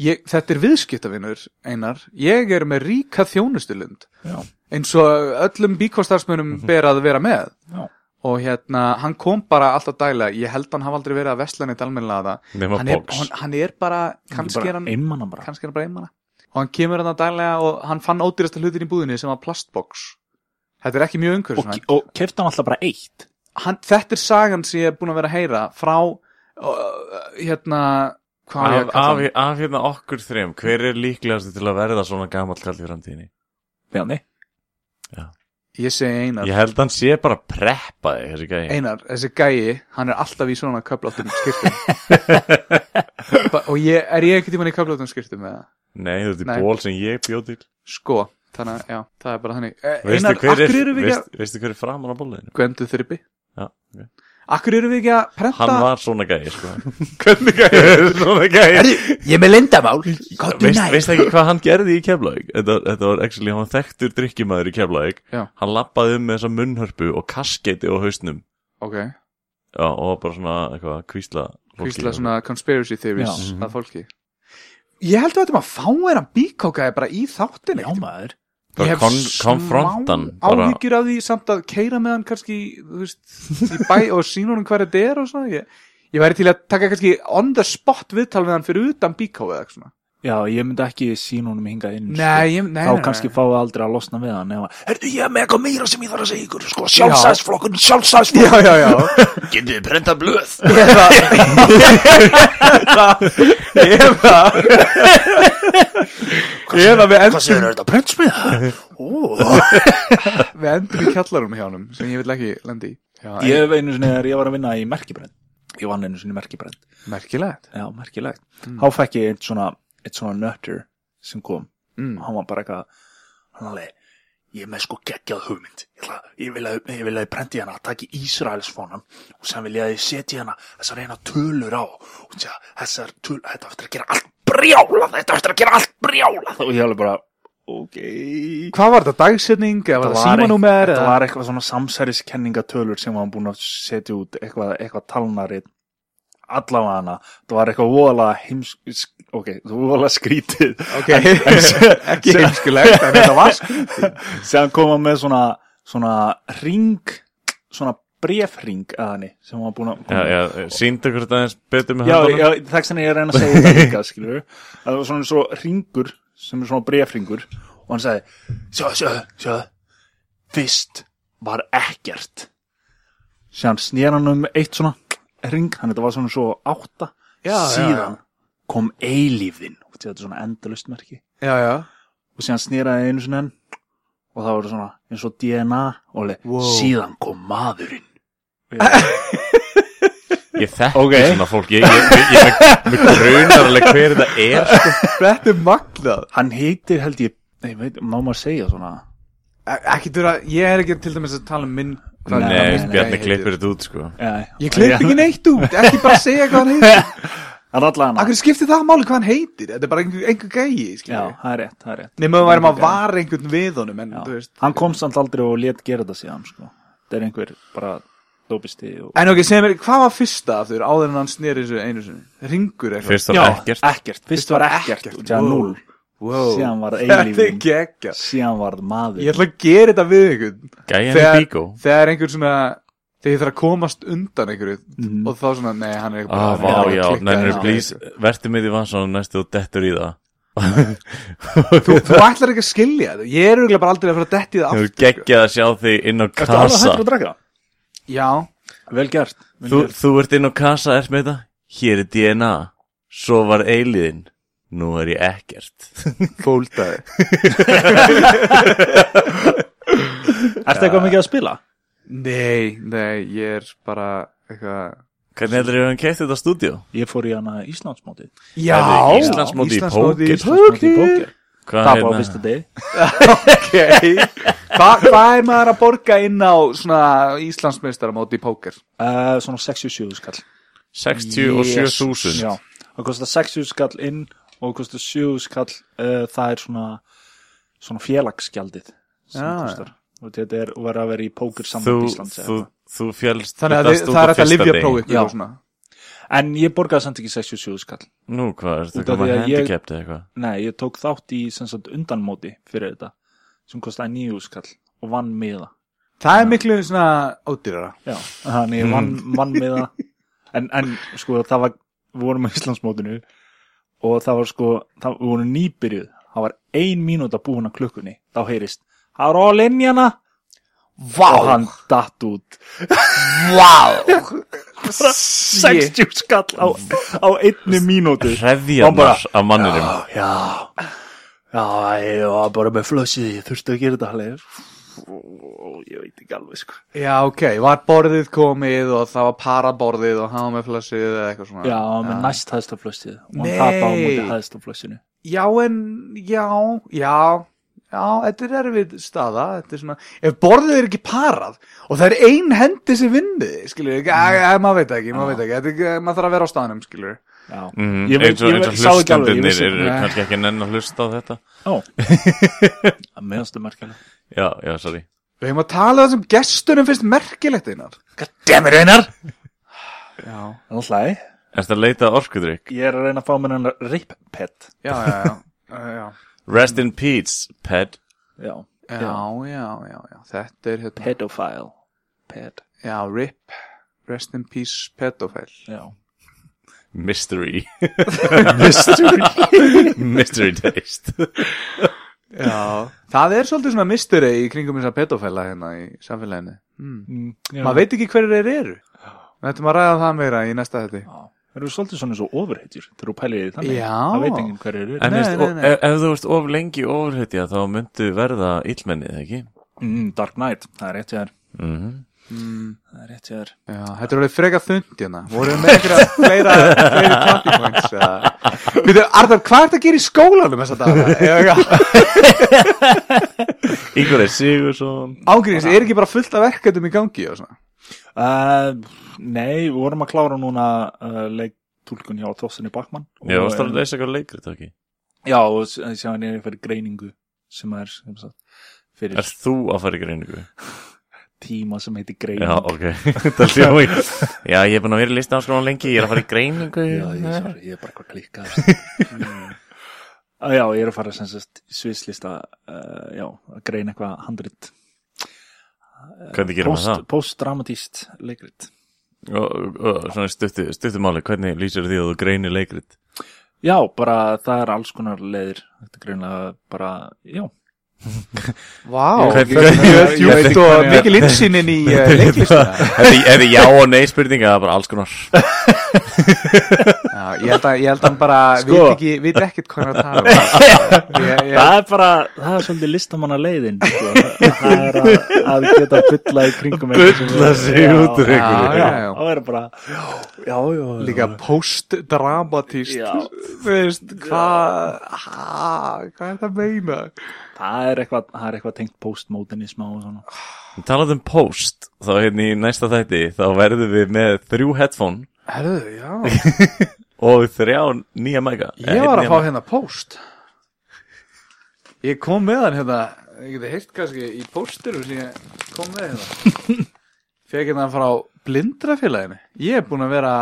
C: ég, þetta er viðskiptavinur einar, ég er með ríka þjónustulund
D: Já.
C: eins og öllum bíkvastarsmönum ber að vera með
D: Já.
C: og hérna, hann kom bara alltaf dæla, ég held hann hafa aldrei verið að vesla neitt almennilega það,
B: Nefna
C: hann er,
B: bóks
C: hann, hann er bara kannski er hann,
D: Einmann hann bara.
C: kannski er hann bara einmana og hann kemur hann að dæla og hann fann ódýrasta hlutin í búðinni sem var plastbox þetta er ekki mjög
D: Og,
C: umhverfisvænt
D: og kefti hann alltaf bara eitt.
C: hann, þetta er sagan sem ég er búin að vera að heyra frá uh, hérna hvað á ég
B: Af,
C: að kalla
B: af,
C: hann?
B: af hérna okkur þrem, hver er líklegast til að verða svona gamall kall í framtíðinni?
D: Bjarni.
C: ég segi einar
B: Ég held hann sé bara preppaði, þessi gæði
C: Einar, þessi gæi, hann er alltaf í svona köflóttum skirtum Ba- og ég, er ég ekkert í manni í köflóttum skirtum með það?
B: Nei, þetta
C: Nei.
B: er ból sem ég bjóð til
C: Sko, þannig að, já, það er bara þannig Eh,
B: Veistu
C: Einar,
B: hver
C: akkur
B: er,
C: eru við ekki að
B: veist, veistu hver er framan á bóliðinu?
C: Gwendu þyrpi
B: Já, ok.
C: Akkur eru við ekki að prenta
B: Hann var svona gæði, sko Hvernig gæði? svona gæði
C: Ég er með lindamál Kottu
B: Veist, Veistu ekki hvað hann gerði í Keflavík? Þetta, þetta var actually, hann var þekktur drikkjumæður í Keflavík
C: Já.
B: Hann lappaði um með þessa munnhörpu og kaskeiti á hausnum
C: Ok,
B: Já, og var bara svona, eitthvað, kvísla fólki.
C: hvísla svona conspiracy theories
D: Já.
C: að fólki Ég held að þetta maður fá er að bíkókaði bara í þáttinni
D: Já maður.
B: Bara kon, konfrontan bara,
C: áhyggjur af því samt að keira með hann kannski þú veist, í bæ og sína honum hvað þetta er og svona ég, ég væri til að taka kannski on the spot viðtal við hann fyrir utan bíkó eða eitthvað svona
D: Já, ég myndi ekki sína honum hingað inn. sko.
C: nei, ég, nei,
D: þá
C: nei,
D: kannski
C: nei.
D: fáið aldrei að losna við hann eða,
E: Herðu ég er með eitthvað meira sem ég þarf að segja ykkur, sko, sjálfsæðsflokkun, sjálfsæðsflokkun.
C: já, já, já
E: Getið þið prenta blöð?
C: eða, eða eða við
E: Hvað segir
C: endum
E: þetta, prentsmiða? Ó,
C: við endum í kjallarum hjá hann sem ég vil ekki lendi í já,
D: ég hef einu sinni þegar ég var að vinna í merkibrend ég vann einu sinni í merkibrend
C: merkilegt
D: já, merkilegt, þá fekk ég eitt svona eitt svona nötter sem kom
C: mm.
D: og hann var bara eitthvað
E: hann alveg, ég er með sko geggjað hugmynd ég, ætla, ég, vil að, ég vil að ég prenti hana að taki Ísraelsfónan og sem vil ég að ég setja hana þessar eina tölur á og segja, þessar tölur, þetta á eftir að gera allt brjála þetta á eftir að gera allt brjála
D: og ég alveg bara, ok
C: hvað var þetta, dagsetning eða var þetta
D: Þetta var, eitthvað,
C: símanúmer
D: þetta
C: eða-
D: var eitthvað svona samsæriskenningatölur sem hann búin að setja út eitthvað, eitthvað talnarið allavega hana, það var eitthvað voðalega heims, ok, voðalega skrítið
C: ok, ekki heimskulegt en þetta var sko
D: sem koma með svona, svona ring, svona brefring að henni sem hann var búin að
B: Já, já, síndu hvort aðeins betur með
D: já,
B: höndunum
D: já þess vegna ég er að reyna að segja þetta líka skilur að það var svona svo ringur sem er svona brefringur og og hann sagði sjáðu, sjáðu, sjáðu fyrst var ekkert síðan snér hann um eitt svona ring, hann þetta var svona svo átta
C: Já, já,
D: síðan kom eilífðin og þetta er svona endalust merki
C: já, já
D: og síðan snýraði einu sinni enn og það voru svona eins og DNA og leið,
C: Wow.
D: síðan kom maðurinn
B: Ég þekki
F: Ok.
B: svona fólk Ég, ég, ég, ég mig grunarleg hver þetta er sko.
C: Þetta er magnað
D: hann heitir held ég, nei, veit, má maður segja svona
C: E- Ekki þurfa, ég er ekki til dæmis að tala um minn hvað hann
B: Nei,
C: heitir.
B: Bjarni
C: heitir.
B: klippir þetta út sko.
D: Já,
C: Ég klipp ekki neitt út, ekki bara segja hvað hann heitir
D: hann allan
C: Akkur skiptir það máli hvað hann heitir Þetta er bara einhver, einhver gæi,
D: já,
C: skiljum
D: það er rétt, það er rétt
C: Nefnum við værum að
D: Einhver gæi.
C: vara einhvern við honum En,
D: Já.
C: þú veist
D: hann komst samt aldrei og let gera þetta síðan sko. það er einhver bara dópisti og...
C: En ok, segja mér, hvað var fyrsta aftur áður en hann sneri þessu einu sinni? Ringur eitthvað?
B: Fyrst var ekkert
D: ekkert, fyrst var ekkert, og síðan
C: Wow.
D: núl
C: wow.
D: síðan var
C: Þetta er
D: eilífin
C: geggja
D: síðan var maður
C: Ég ætla að gera þetta við einhvern
B: Gæjan er
C: Þegar,
B: bíkó
C: þegar einhver svona Þegar ég þarf að komast undan einhverju Og þá svona, nei, hann er
B: Mhm. Ah,
C: hann er
B: vá,
C: að
B: já,
C: klikka
B: nennir,
C: hérna á
B: please
C: einhverju.
B: Vertu með því vansan næstu og dettur í það
C: Þú, þú ætlar ekki að skilja þetta Ég er auðvitað bara aldrei að fara að detti það
B: Þú
C: aftur
B: hefur geggjað að sjá þig inn á
D: Ertu alveg
B: kasa
D: hættur að drakka?
C: sko. Já,
D: Vel gert, vel
B: þú,
D: gert.
B: þú ert inn á kasa, ert með þetta Hér er DNA Svo var eiliðin Nú er ég ekkert
C: fóldaði
D: Ertu eitthvað mikið að spila?
C: Nei, nei, ég er bara eitthvað
B: Hvernig heldur ég að hann keitt þetta stúdíu?
D: Ég fór í hana Íslandsmóti
C: Já,
B: Heyrðu, Íslandsmóti í
C: Íslandsmóti í
D: Íslandsmóti í
C: póker.
D: bóker Tapa
B: hérna?
D: á fyrsta degi
C: Ok, Hva, hvað er maður að borga inn á svona Íslandsmeistaramóti í póker?
D: uh, Svona 67 skall
B: 67.000
D: Já, það kostar 60 skall inn og kostar 7 skall uh, það er svona, svona félagsgjaldið sem
C: Já,
D: kostar og þetta er að vera að vera í póker
B: þú,
D: saman Íslands eða
B: þú,
D: eitthvað.
B: þú fjálst
C: Þannig að þið- það er hægt að lifja prófi
D: Já.
C: ykkur og svona
D: En ég borgaði samt ekki 67 skall
B: Nú hvað, er þetta
D: Út af
B: komað
D: því að ég-
B: handicapti eða eitthvað?
D: Nei, ég tók þátt í sem sagt, undanmóti fyrir þetta sem kostaði 9 skall og vann miða
C: Það er miklu svona ódýrara
D: Já, þannig ég vann, vann með það en, en sko það var við vorum á Íslandsmótinu og það var sko, það, við vorum nýbyrjuð það var ein mínúta búin að klukkunni þá heyrist, það er all in hérna Vá! og hann datt út Vá! 60 skall á, á einni mínútu
B: Hrefjarnar af manninum
D: Já, já, ég var bara með flössið ég þurfti að gera þetta alveg ég veit ekki alveg sko
C: Já, ok, var borðið komið og það var paraborðið og hafa með flössið eða eitthvað svona
D: Já, hann var með næst hæðsta flössið og hann
C: Nei.
D: tapaði á móti hæðsta flössinu
C: Já, en, já, já Já, þetta er erfið staða Þetta er svona, ef borðið er ekki parað og það er ein hendi sem vinnið skilur, ekki, mm. maður veit ekki, maður veit ekki, þetta er ekki maður þarf að vera á staðnum, skilur
D: Já,
B: Mm,
D: Ég veit-
B: eins og,
D: ég
B: eins
D: veit-
B: og
D: sá ekki alveg, ég
B: hlustendurnir
D: vissi-
B: eru
C: Nei.
B: kannski ekki nenn að hlusta á þetta
D: ó Meðastu merkjala
B: Já, já, sorry
C: Við hefum að tala það sem gestunum finnst merkilegt einar
D: Goddammit Einar
C: Já,
D: Alltaf,
B: Er þetta að leita orkudrykk?
D: ég er að reyna að fá mér hennar rip pet
C: já, já, já Já, já,
B: Rest in peace, ped
D: Já,
C: já, já, já, já. Þetta er hérna
D: pedophile Ped,
C: Já, RIP Rest in Peace Pedophile
D: já
B: Mystery
D: Mystery
B: Mystery taste
C: Já Það er svolítið svona mystery í kringum þessa pedofæla hérna í samfélaginu mm. Maður veit ekki hverjir þeir eru Við ættum að ræða það meira í næsta þetta
D: Það eru svolítið svona eins og ofurhetjur þegar þú pælir í því þannig
C: Já.
D: Það veit enginn hverju
B: En
D: eru
C: Nei,
B: veist,
C: nei,
B: o-
C: nei.
B: ef, ef þú ert of lengi ofurhetja þá myndu verða illmennið, ekki?
D: mm, Dark Knight, það er rétt hjá þér
B: Mm
D: Það er rétt hjá þér
C: Já, þetta er alveg freka þund hérna Voru með einhverja fleira, fleiri talking points eða? Býtu, Arðar, hvað ert að gera í skólanum þessa daga?
B: Ingvar er Sigursson
C: Ángríns, er ekki bara fullt af verkefnum í gangi og svona?
D: uh, Nei, við vorum að klára núna uh, leiktúlkun hjá Þossinni Bakman
B: Já, þú varst að leysa eitthvað leikrit, ekki?
D: Já, og s- sjá hann er fyrir greiningu sem er sem sagt, fyrir
B: Er þú að fara í greiningu?
D: tíma sem heitir
B: Já,
D: greining.
B: ok Það er ljói Já, ég er búin að vera í listaháskólanum lengi Ég er að fara í greiningu
D: Já, ég, sorry, ég er bara eitthvað klikkað. Að já, ég er að fara sem sagt í sviðslista, uh, já, að greina eitthvað handrit.
B: Hvernig gerum við það?
D: Post-dramatíst leikrit.
B: Og, og, og, svona stuttu, stuttumáli, hvernig lýsir því að þú greinir leikrit?
D: Já, bara það er alls konar leiðir. Þetta er greinlega bara, já,
C: Vá,
B: Hvernig-
C: mjög
B: ég veit
C: djúpt
B: ekki
C: og
B: hvernig-
C: mikil innsýnin í eh, leiklistina
B: Ef þið- ef þið já og nei spurninga, það er bara alls konar
C: Já, ég held að, ég held að hann bara
D: Sko.
C: veit ekki, veit ekkert hvað hann er að tala um. ég, ég,
D: Það er bara, það er svolítið listamanna leiðin sko. Það er að, að geta bulla í kringum eitthvað sem
B: Bulla
D: er-
B: sig
D: Já,
B: út úr
D: já,
B: einhverju.
D: já,
C: Já, já.
D: Það er bara Já, já, já
C: Líka post-dramatíst
D: Já.
C: Þú veist, hvað ha, Hvað er það að meina?
D: Það er eitthvað, það er eitthvað tengt postmodernism og svona
B: Talað um post, þá hérna í næsta þætti þá verðum við með þrjú headphone
C: Herðu, já
B: og þrjá nýja mæka
C: Ég var að fá hérna post Ég kom með hann hérna Ég geti heyrt kannski í posturum sem ég kom með hérna Fekir hann frá blindrafélaginu Ég er búin að vera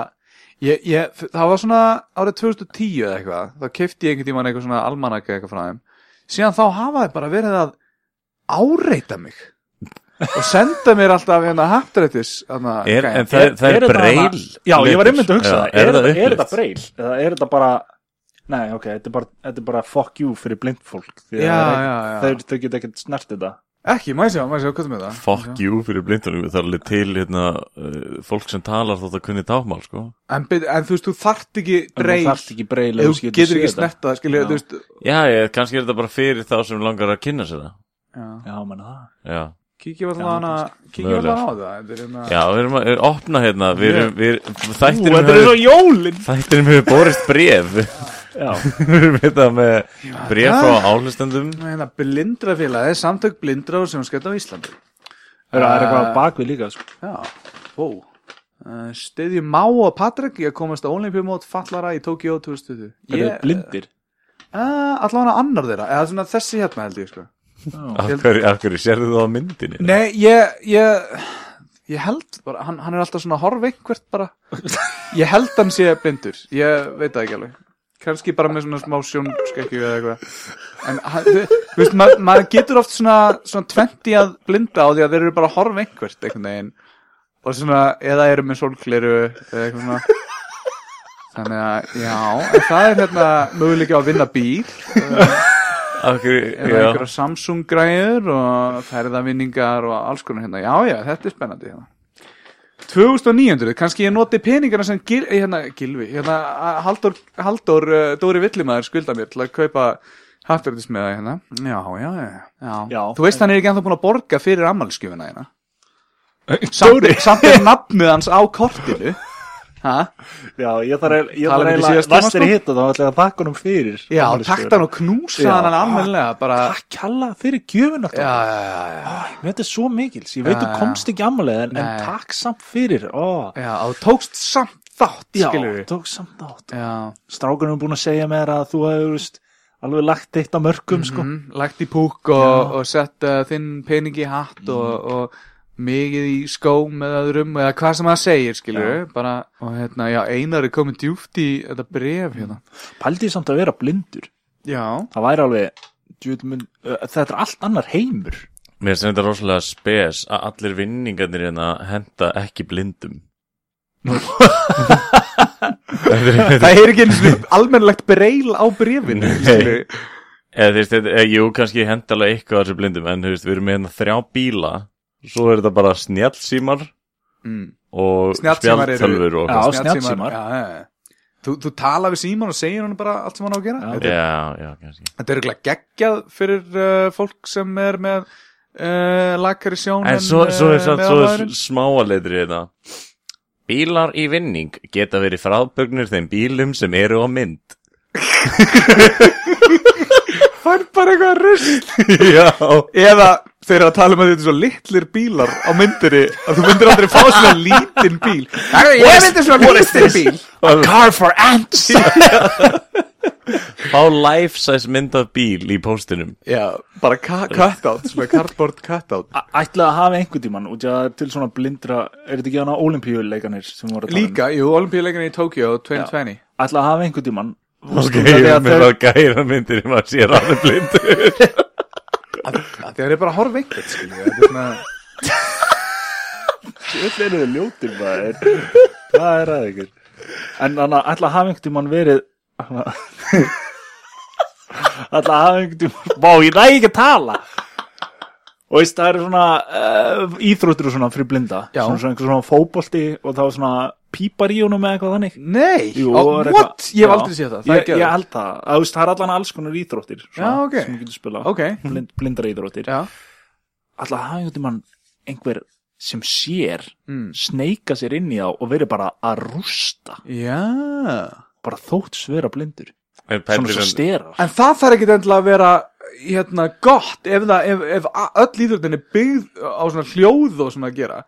C: ég, ég, Það var svona árið 2010 eða eitthvað Þá kefti ég einhvern tímann eitthvað svona almanaka eitthvað frá þeim Síðan þá hafa þeir bara verið að áreita mig og senda mér alltaf hérna haptrættis hérna,
B: Er-
C: gæja.
B: en það- það er
D: þetta
B: breil
D: hana- Já, ég var einmitt að hugsa
B: Já,
D: það
B: er
D: Er,
B: það
D: er, er
B: upplift?
D: þetta breil? Eða er þetta bara Nei, ok, þetta er bara, þetta er bara fuck you fyrir blind fólk því að
C: Já,
D: það er
C: já,
D: ekki-
C: já.
D: Þeir, þeir geta ekkert snert þetta
C: ekki, maður sjá, maður sjá, hvað er með það
B: Fuck you fyrir blindunum, það er alveg til hérna, uh, fólk sem talar þótt að kunni tákmál sko.
C: en, byrju, en þú veist, þú þarft ekki
D: En
C: breið
D: þú þarft ekki breil ef
C: Ef þú getur
D: séð
C: ekki
D: þetta.
C: snerta það, skilja,
D: Já.
C: þú veist
B: Já, ég, kannski er þetta bara fyrir þá sem langar að kynna sér það
D: Já, menna það
B: Já,
C: Kíkjum alltaf
D: Já,
C: hana, kíkjum
B: mögulega.
C: alltaf á það Þetta er hérna
B: Já við erum að er, opna hérna við erum, við,
D: Ú,
B: Þættinum
D: þetta er svo jólin
B: Þættinum hefur borist bref Við
D: Já,
B: erum hérna með bref frá áhlustendum
C: Hérna blindrafélagi, samtök blindra og sjónskætt á Íslandi
D: það er eitthvað
C: Eh,
D: á bakvið líka sko.
C: Já, ó uh, Stiðjum Má og Patrik í að komast á Olympiumót fallara í Tókíó 2020
D: Er þetta blindir?
C: Uh, allavega annar þeirra, eða svona þessi hérna held ég sko
B: Af hverju, af hverju sérðu þú á myndinni?
C: Nei, ég, ég, ég held bara, hann, hann er alltaf svona horfveikvert bara Ég held hann sé blindur, ég veit það ekki alveg Kanski bara með svona smá sjónskekju eða eitthvað En hann, þú þú veist, maður ma maður getur oft svona, svona 20 að blinda á því að þeir eru bara horfveikvert einhvern veginn Og svona, eða eru með sólkleru eða eitthvað svona Þannig að, já, en það er hérna möguleika á að vinna bíl
B: Af hverju,
C: eða
B: já.
C: einhverja Samsung græður og ferðavinningar og alls konar hérna, já já, þetta er spennandi hérna. 2900, kannski ég noti peningana sem gil, eh, hérna, Gilvi hérna, a- Halldór, Halldór uh, Dóri Villimaður skulda mér til að kaupa hafturðis með það hérna já, já, já, já.
D: Já.
C: þú veist hann er ekki ennþá búin að borga fyrir ammálskjöfuna hérna
D: Eh,
C: samt, samt er nafnið hans á kortinu ha?
D: Já, ég þarf eil- ég
C: Tala um
D: þarf
C: þetta
D: eiginlega
C: síðast tíma,
D: næstir
C: sko.
D: hitt og þá ætla ég að þakka honum fyrir
C: já,
D: Afmælisgjöfina.
C: takt hann og knúsa
D: Já.
C: hann almennilega bara,
D: Takk hella fyrir gjöfun
C: já,
D: átt
C: já, já, já
D: Þetta er svo mikils, ég veit þú
C: Já, já.
D: komst ekki ammalið en, en
C: Nei.
D: takk samt fyrir ó.
C: Já, og tókst samt þátt,
D: Já,
C: skilur við.
D: tók samt átt
C: Já,
D: Strákunum er búin að segja mér að þú hefur veist, alveg lagt eitt á mörgum sko.
C: mm, lagt í púk og, og sett uh, þinn pening í hatt
D: Mhm.
C: og, og mikið í skóm eða öðrum eða hvað sem það segir, skilur við. Bara, og hérna, já, einar er komin djúft í þetta bref hérna.
D: Pældi ég samt að vera blindur
C: Já,
D: Það væri alveg djöfull mun, uh, Þetta er allt annar heimur
B: Mér finnst þetta rosalega spes að allir vinningarnir hérna henda ekki blindum Þetta er- þetta er-
C: það er ekki eins og almennlegt breil á brefinu,
B: Nei.
C: skilur við.
B: Eða þú veist, þetta- eða Jú, kannski henda alveg eitthvað af þessu blindum en þú veist, við erum með hérna þrjá bíla svo er þetta bara snjallsímar
C: Mm.
B: og
C: Snjallsímar eru-
B: spjaldtölfur og
D: Já,
B: eitthvað.
C: Mm.
D: snjallsímar.
C: Já, já, já. Þú, þú tala við síman og segir hann bara allt sem hann á að gera.
D: Já.
C: Þetta er
B: Já, já, kannski
C: Þetta er eiginlega geggjað fyrir uh, fólk sem er með uh, lakari sjón
B: En svo, svo er
C: eh,
B: satt svo
C: meðalmaðurinn.
B: smáalegri þetta Bílar í vinning geta verið frábögnir þeim bílum sem eru á mynd
C: Það er bara eitthvað rust
B: Já
C: Eða þeir eru að tala um að þetta er svo litlir bílar á myndinni að þú myndir aldrei fá svona lítinn bíl Ég myndi svona lítinn bíl
D: Car for ants
B: Fá life size mynd af bíl í póstinum
C: Já, bara ka- cutout, svona cardboard cutout
D: Æ- Ætlaði að hafa einhvern tímann út í að til svona blindra, er þetta ekki hana olimpíuleikanir sem voru að tala um?
C: Líka, jú, olimpíuleikinni í Tokyo 2020
D: Ætlaði að hafa einhvern tímann
B: Ok, ég er með það gæra myndir um að sér alveg blindur
C: Það er bara að horfa einhvern, skilju Þetta er svona
D: Öll eru þau ljótir maður Það er aðeins En hann ætlaði að hafa einhvern tímann verið hana- alltaf aðeins Vá, ég næg ekki að tala Og veist, það eru svona uh, íþróttur og svona fyrir blinda
C: Já.
D: Svona, svona, einhver svona fótbolti og það var svona pípar í honum eða eitthvað þannig
C: Nei,
D: Jú,
C: á,
D: það er
C: what?
D: eitthvað-
C: Ég hef
D: Já.
C: aldrei séð það, það er
D: ég,
C: ekki
D: ég held það, að, veist, það er allan alls konar íþróttir svona,
C: Já, ok.
D: sem við getum spila
C: Ok,
D: Blind, blindar íþróttir
C: já
D: alltaf hafa einhvern mann einhver sem sér
C: mm.
D: sneika sér inn í þá og verið bara að rústa
C: Já
D: bara þótt svera blindur
B: Er
D: svona
B: pendurinn-
D: sem sterar
C: En það þarf ekkit endilega að vera hérna gott ef, það, ef, ef a- öll íþjóttin er byggð á svona hljóð og svona að gera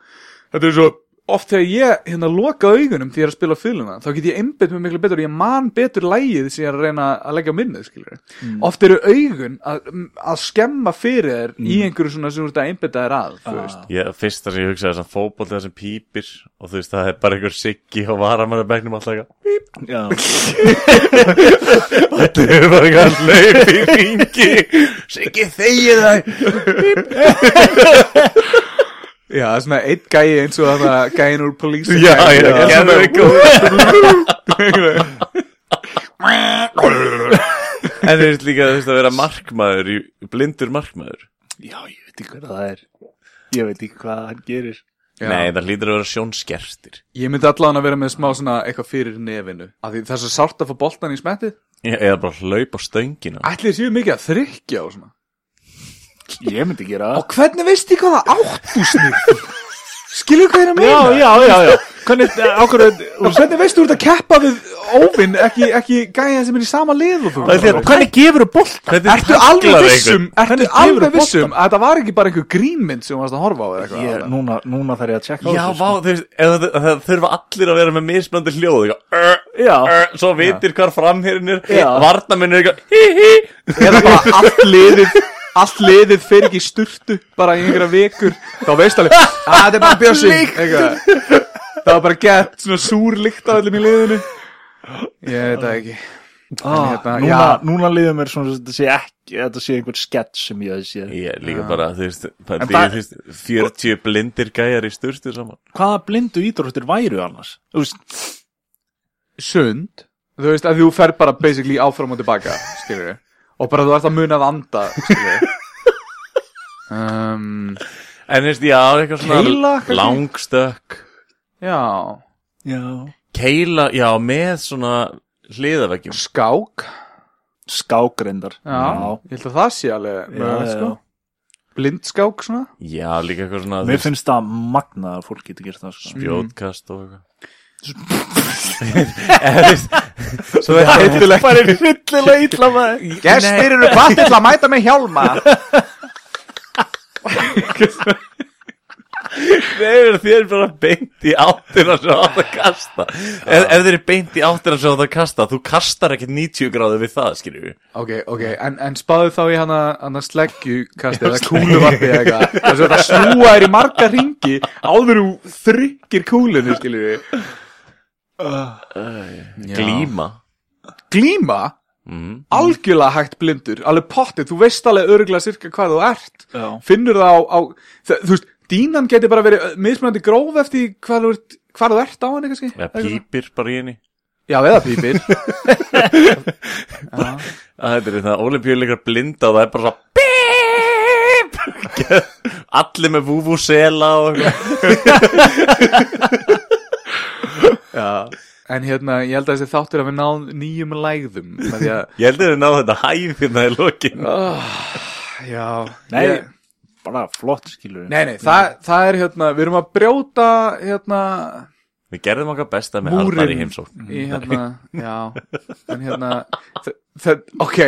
C: Þetta er svo oft þegar ég hérna loka augunum því ég er að spila á fylguna þá get ég einbytt mig miklu betur og ég man betur lægið sem ég er að reyna að leggja á minnið skilur
B: Mm.
C: oft eru augun að, að skemma fyrir þér í
B: Mm.
C: einhverju svona sem þú ert að einbytta þér að þú veist
B: Ég, fyrsta sem ég hugsaði þessan fótbolti það sem pípir og þú veist það er bara einhver siggi og varamann er begnum alltaf eitthvað
D: Já.
B: Þetta er bara eitthvað hlaup í ringi Siggi þegið það
C: Já, það er svona eitt gæi eins og það er gæin úr police
B: Já, já,
C: Academy.
B: já,
C: Svona-
B: En þú veist líka þú veist, að vera markmaður í, blindur markmaður
D: já, ég veit ekki hvað það er ég veit ekki hvað hann gerir
C: Já.
B: Nei, það hlýtur að vera sjónskertir
C: Ég myndi allan að vera með smá svona eitthvað fyrir nefinu af því það er svo sárt að fá boltan í smettið
B: Já, Eða bara hlaup á stöngina
C: Ætli þið séu mikið að þrykja og svona
D: ég myndi gera það
C: Og hvernig veist ég hvað það átt þú snýr? Skilju hvað ég er að meina?
D: já, já, já, já hvernig, eh, ákvörðu
C: Og hvernig veist þú ert að keppa við óvinn ekki, ekki gæja sem er í sama lið og þú?
D: og hvernig gefur þú bolt
B: Hvernig
C: Ertu
B: taglaði
C: alveg
B: einhvern?
C: vissum, ertu
D: Hvernig gefurðu
C: alveg vissum að þetta var ekki bara einhver grínmynd sem þú varst að horfa á eða eitthvað?
D: ég, núna, núna þarf ég að tjekka á
B: Já,
D: þessu, sko.
B: vá, þú veist, ef það, það þurfa allir að vera með mismöndi hljóð eitthvað, ör,
D: sko. já,
B: ör, Svo vitir hvar framherinn er
D: Já.
B: Varnaminn er eitthvað, hí, hí
C: eða bara allt liðið allt liðið fer ekki í sturtu bara í einhverja vikur þá veist alveg að þetta er bara bjössi eitthvað. það var bara gett svona súr líkt á öllum í liðinu ég veit það ekki
D: ah,
C: hérna,
D: núna,
C: já.
D: núna líður mér svona sem þetta sé ekki þetta sé einhver sketch sem ég hafði séð
B: Ég líka bara, þú veist, bara,
C: En
B: því,
C: það-
B: þú veist 40 blindir gæjar í sturtu saman
D: hvaða blindu ídróttir væru annars þú veist,
C: sund þú veist að þú fer bara basically áfram og tilbaka skilur og bara þú ert að muna að anda skilur um,
B: En þú veist, já, eitthvað svona
C: Keila, kannski?
B: Langstökk
C: já
D: já
B: Keila, já, með svona hliðaveggjum
C: skák
D: skágrindar
C: já, ég held að það sé alveg
D: Já,
C: mögulegt,
D: já,
C: sko. blindskák svona
B: Já, líka eitthvað svona þú
D: mér
B: veist,
D: finnst það magna að fólk getur gert það sko.
B: spjótkast og eitthvað En þú veist, Svo er
C: Heitilegt.
D: bara er fyllilega illa maður
C: Gestir eru hvattir til að mæta með hjálma
B: Þeir, þeir bara beint í áttina sem átt að kasta ef, ef þeir eru beint í áttina sem átt að kasta Þú kastar ekkert 90 gráðu við það, skilur við
C: Ok, ok, en, en spáðu þá í hana, hana sleggjukasti eða kúluvarpi eða eitthvað Það er svo þetta snúa er í marga ringi áður þú þryggir kúlinu, skilur við
B: Glíma
C: Glíma,
B: mm.
C: algjörlega hægt blindur, alveg pottið, þú veist alveg örgulega sirka hvað þú ert
D: Já.
C: Finnur það á, á það, þú veist, dínan getur bara verið mismunandi gróf eftir hvað þú ert, hvað þú ert á henni kannski
B: Eða pípir bara í henni
C: Já, eða pípir
B: að Þetta er það, olimpíuleikar blinda og það er bara svo Bíp Allir með vúvúsela og eitthvað
C: En hérna, ég held að þessi þáttur að við náðum nýjum lægðum með því að
B: Ég held að þeir náðu þetta hæð hérna í lokin
C: Já,
D: Nei.
C: ég,
D: bara flott skilur
C: nei, nei það, það er hérna, við erum að brjóta hérna,
B: Við gerðum okkar besta með
C: Múrin.
B: Arnar í heimsókn
C: í
D: Mm.
C: hérna, já, en hérna, þ- það, ok,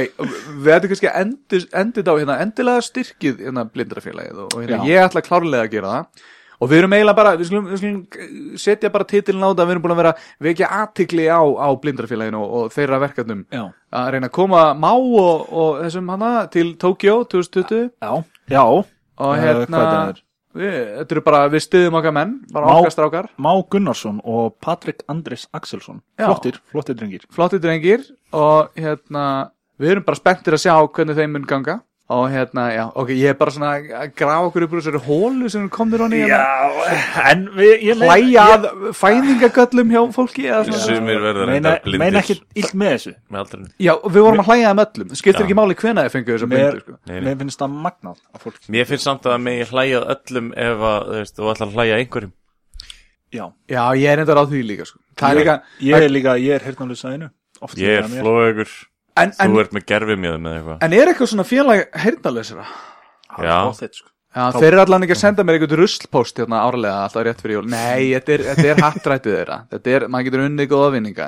C: við ættum kannski að endur, endur á hérna, endilega styrkið hérna blindrafélagið og, og hérna,
D: Já.
C: ég ætla klárlega að gera það og við erum eiginlega bara, við skulum, við skulum setja bara titilin á þetta, við erum búin að vera vekja aðtikli á, á blindrafélaginu og, og þeirra verkefnum
D: já,
C: að reyna að koma má og, og þessum hana til Tokyo 2020
D: já, já.
C: og
D: Eh,
C: hérna
D: hvað þetta er?
C: við, þetta eru bara, við stiðum okkar menn bara
D: Má-
C: okkar strákar,
D: Má Gunnarsson og Patrik Andris Axelsson
C: Já.
D: flottir, flottir drengir
C: flottir drengir og hérna, við erum bara spenntir að sjá hvernig þeim mun ganga og hérna, já, ok, ég er bara svona að grafa okkur upp úr þessari hólu sem við komum þér honni
D: Já, en við, ég leið-
C: hérna. hlæja að fæðingagöllum hjá fólki eða svona
B: Sumir verður
D: meina,
B: reyndar blindir
D: meina ekki illt með þessu
B: með aldrinum.
C: Já, og við vorum að hlæja að möllum, skiptir
B: Já.
C: ekki máli hvena þið fengu þessar
D: mér,
C: myndir sko.
B: Nei, nei.
D: mér finnst það magnað að fólk
B: Mér finnst samt að megi hlæja að öllum ef að, þú veist, þú ætlar að hlæja að einhverjum.
D: já,
C: Já, ég er reyndar á því líka sko. Það er líka,
D: ég er líka, ég er heyrnalus að einu oft
B: Ég er
D: líka mér.
B: flóðugur,
C: en, en,
B: þú ert með gerfið mjög með eitthvað.
C: en er eitthvað svona félag heyrnalesera?
E: Það
B: Já.
E: er gott þetta, sko.
C: Já, þeir eru allan ekki að senda mér einhvern ruslpost hérna árlega alltaf rétt fyrir jól. Nei, þetta er, þetta er hattrættið þeirra. Þetta er, maður getur unnið góða vinninga.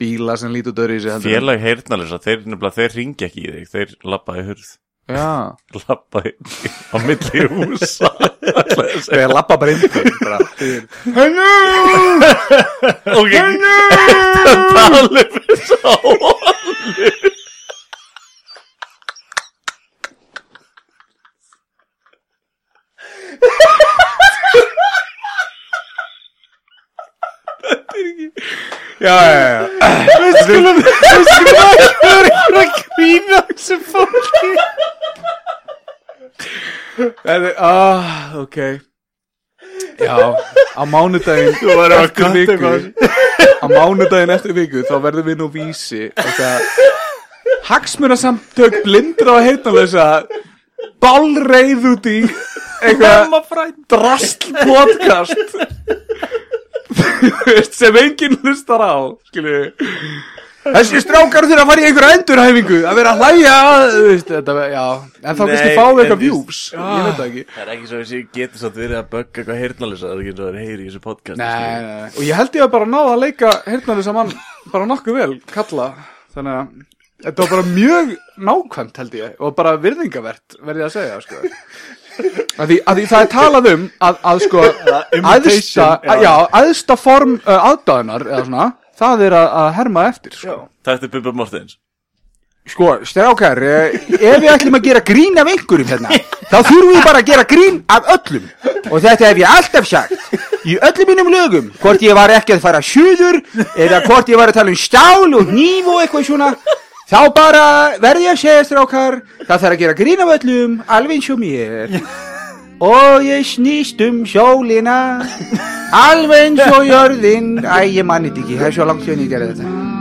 C: Bíla sem lítur dörri í sig heldur. en-
B: Félag heyrnalisa, þeir nefnilega, þeir ringi ekki í þig, þeir lappa í hurð.
C: Já,
B: Lappa í, á milli húsa.
C: þeir lappa bara inn. í þau, bara.
B: ok, tala um þess að
C: Já, já, já. Við skulum, við skulum ekki vera einhver að grína þessu fólki. Þetta er, ah, ok. Já, á mánudaginn Þú verður að
D: kanta
C: Á mánudaginn eftir viku þá verðum við nú vísi þetta Hagsmunasamtök blindra og heyrnalösa Bálreið út í Eitthvað Drast podcast Þú veist, sem enginn hlustar á skilju þessi strákar þurfa að fara í einhverja endurhæfingu að vera að hlæja þú veist, þetta, já, en þá kannski fá við eitthvað views ég veit það ekki
B: Það er ekki svo að ég geti satt verið að bögga eitthvað heyrnalisa, það er ekki svo að heyri í þessu podcast.
C: nei, nei, nei. og ég held ég að bara náða að leika heyrnarðu saman bara nokkuð vel kalla þannig að þetta var bara mjög nákvæmt held ég og bara virðingavert verði ég að segja sko. að, því, að því það er talað um að, að sko æðsta,
D: já.
C: já, æðsta form uh, aðdáðunar eða svona það er að, að herma eftir sko.
B: Þetta er Bubba Mortens.
C: Sko, strákar, eh, ef við ætlum að gera grín af einhverjum hérna, þá þurfum við bara að gera grín af öllum. Og þetta hef ég alltaf sagt í öllum mínum lögum, hvort ég var ekki að fara suður eða hvort ég var að tala um stál og hníf og eitthvað svona, þá bara verði ég að segja strákar, það þarf að gera grín af öllum, alveg eins og mér. Og ég snýst um sólina, alveg eins og jörðin, æ, ég manni þetta ekki, það er svo langt sem ég gerði þetta.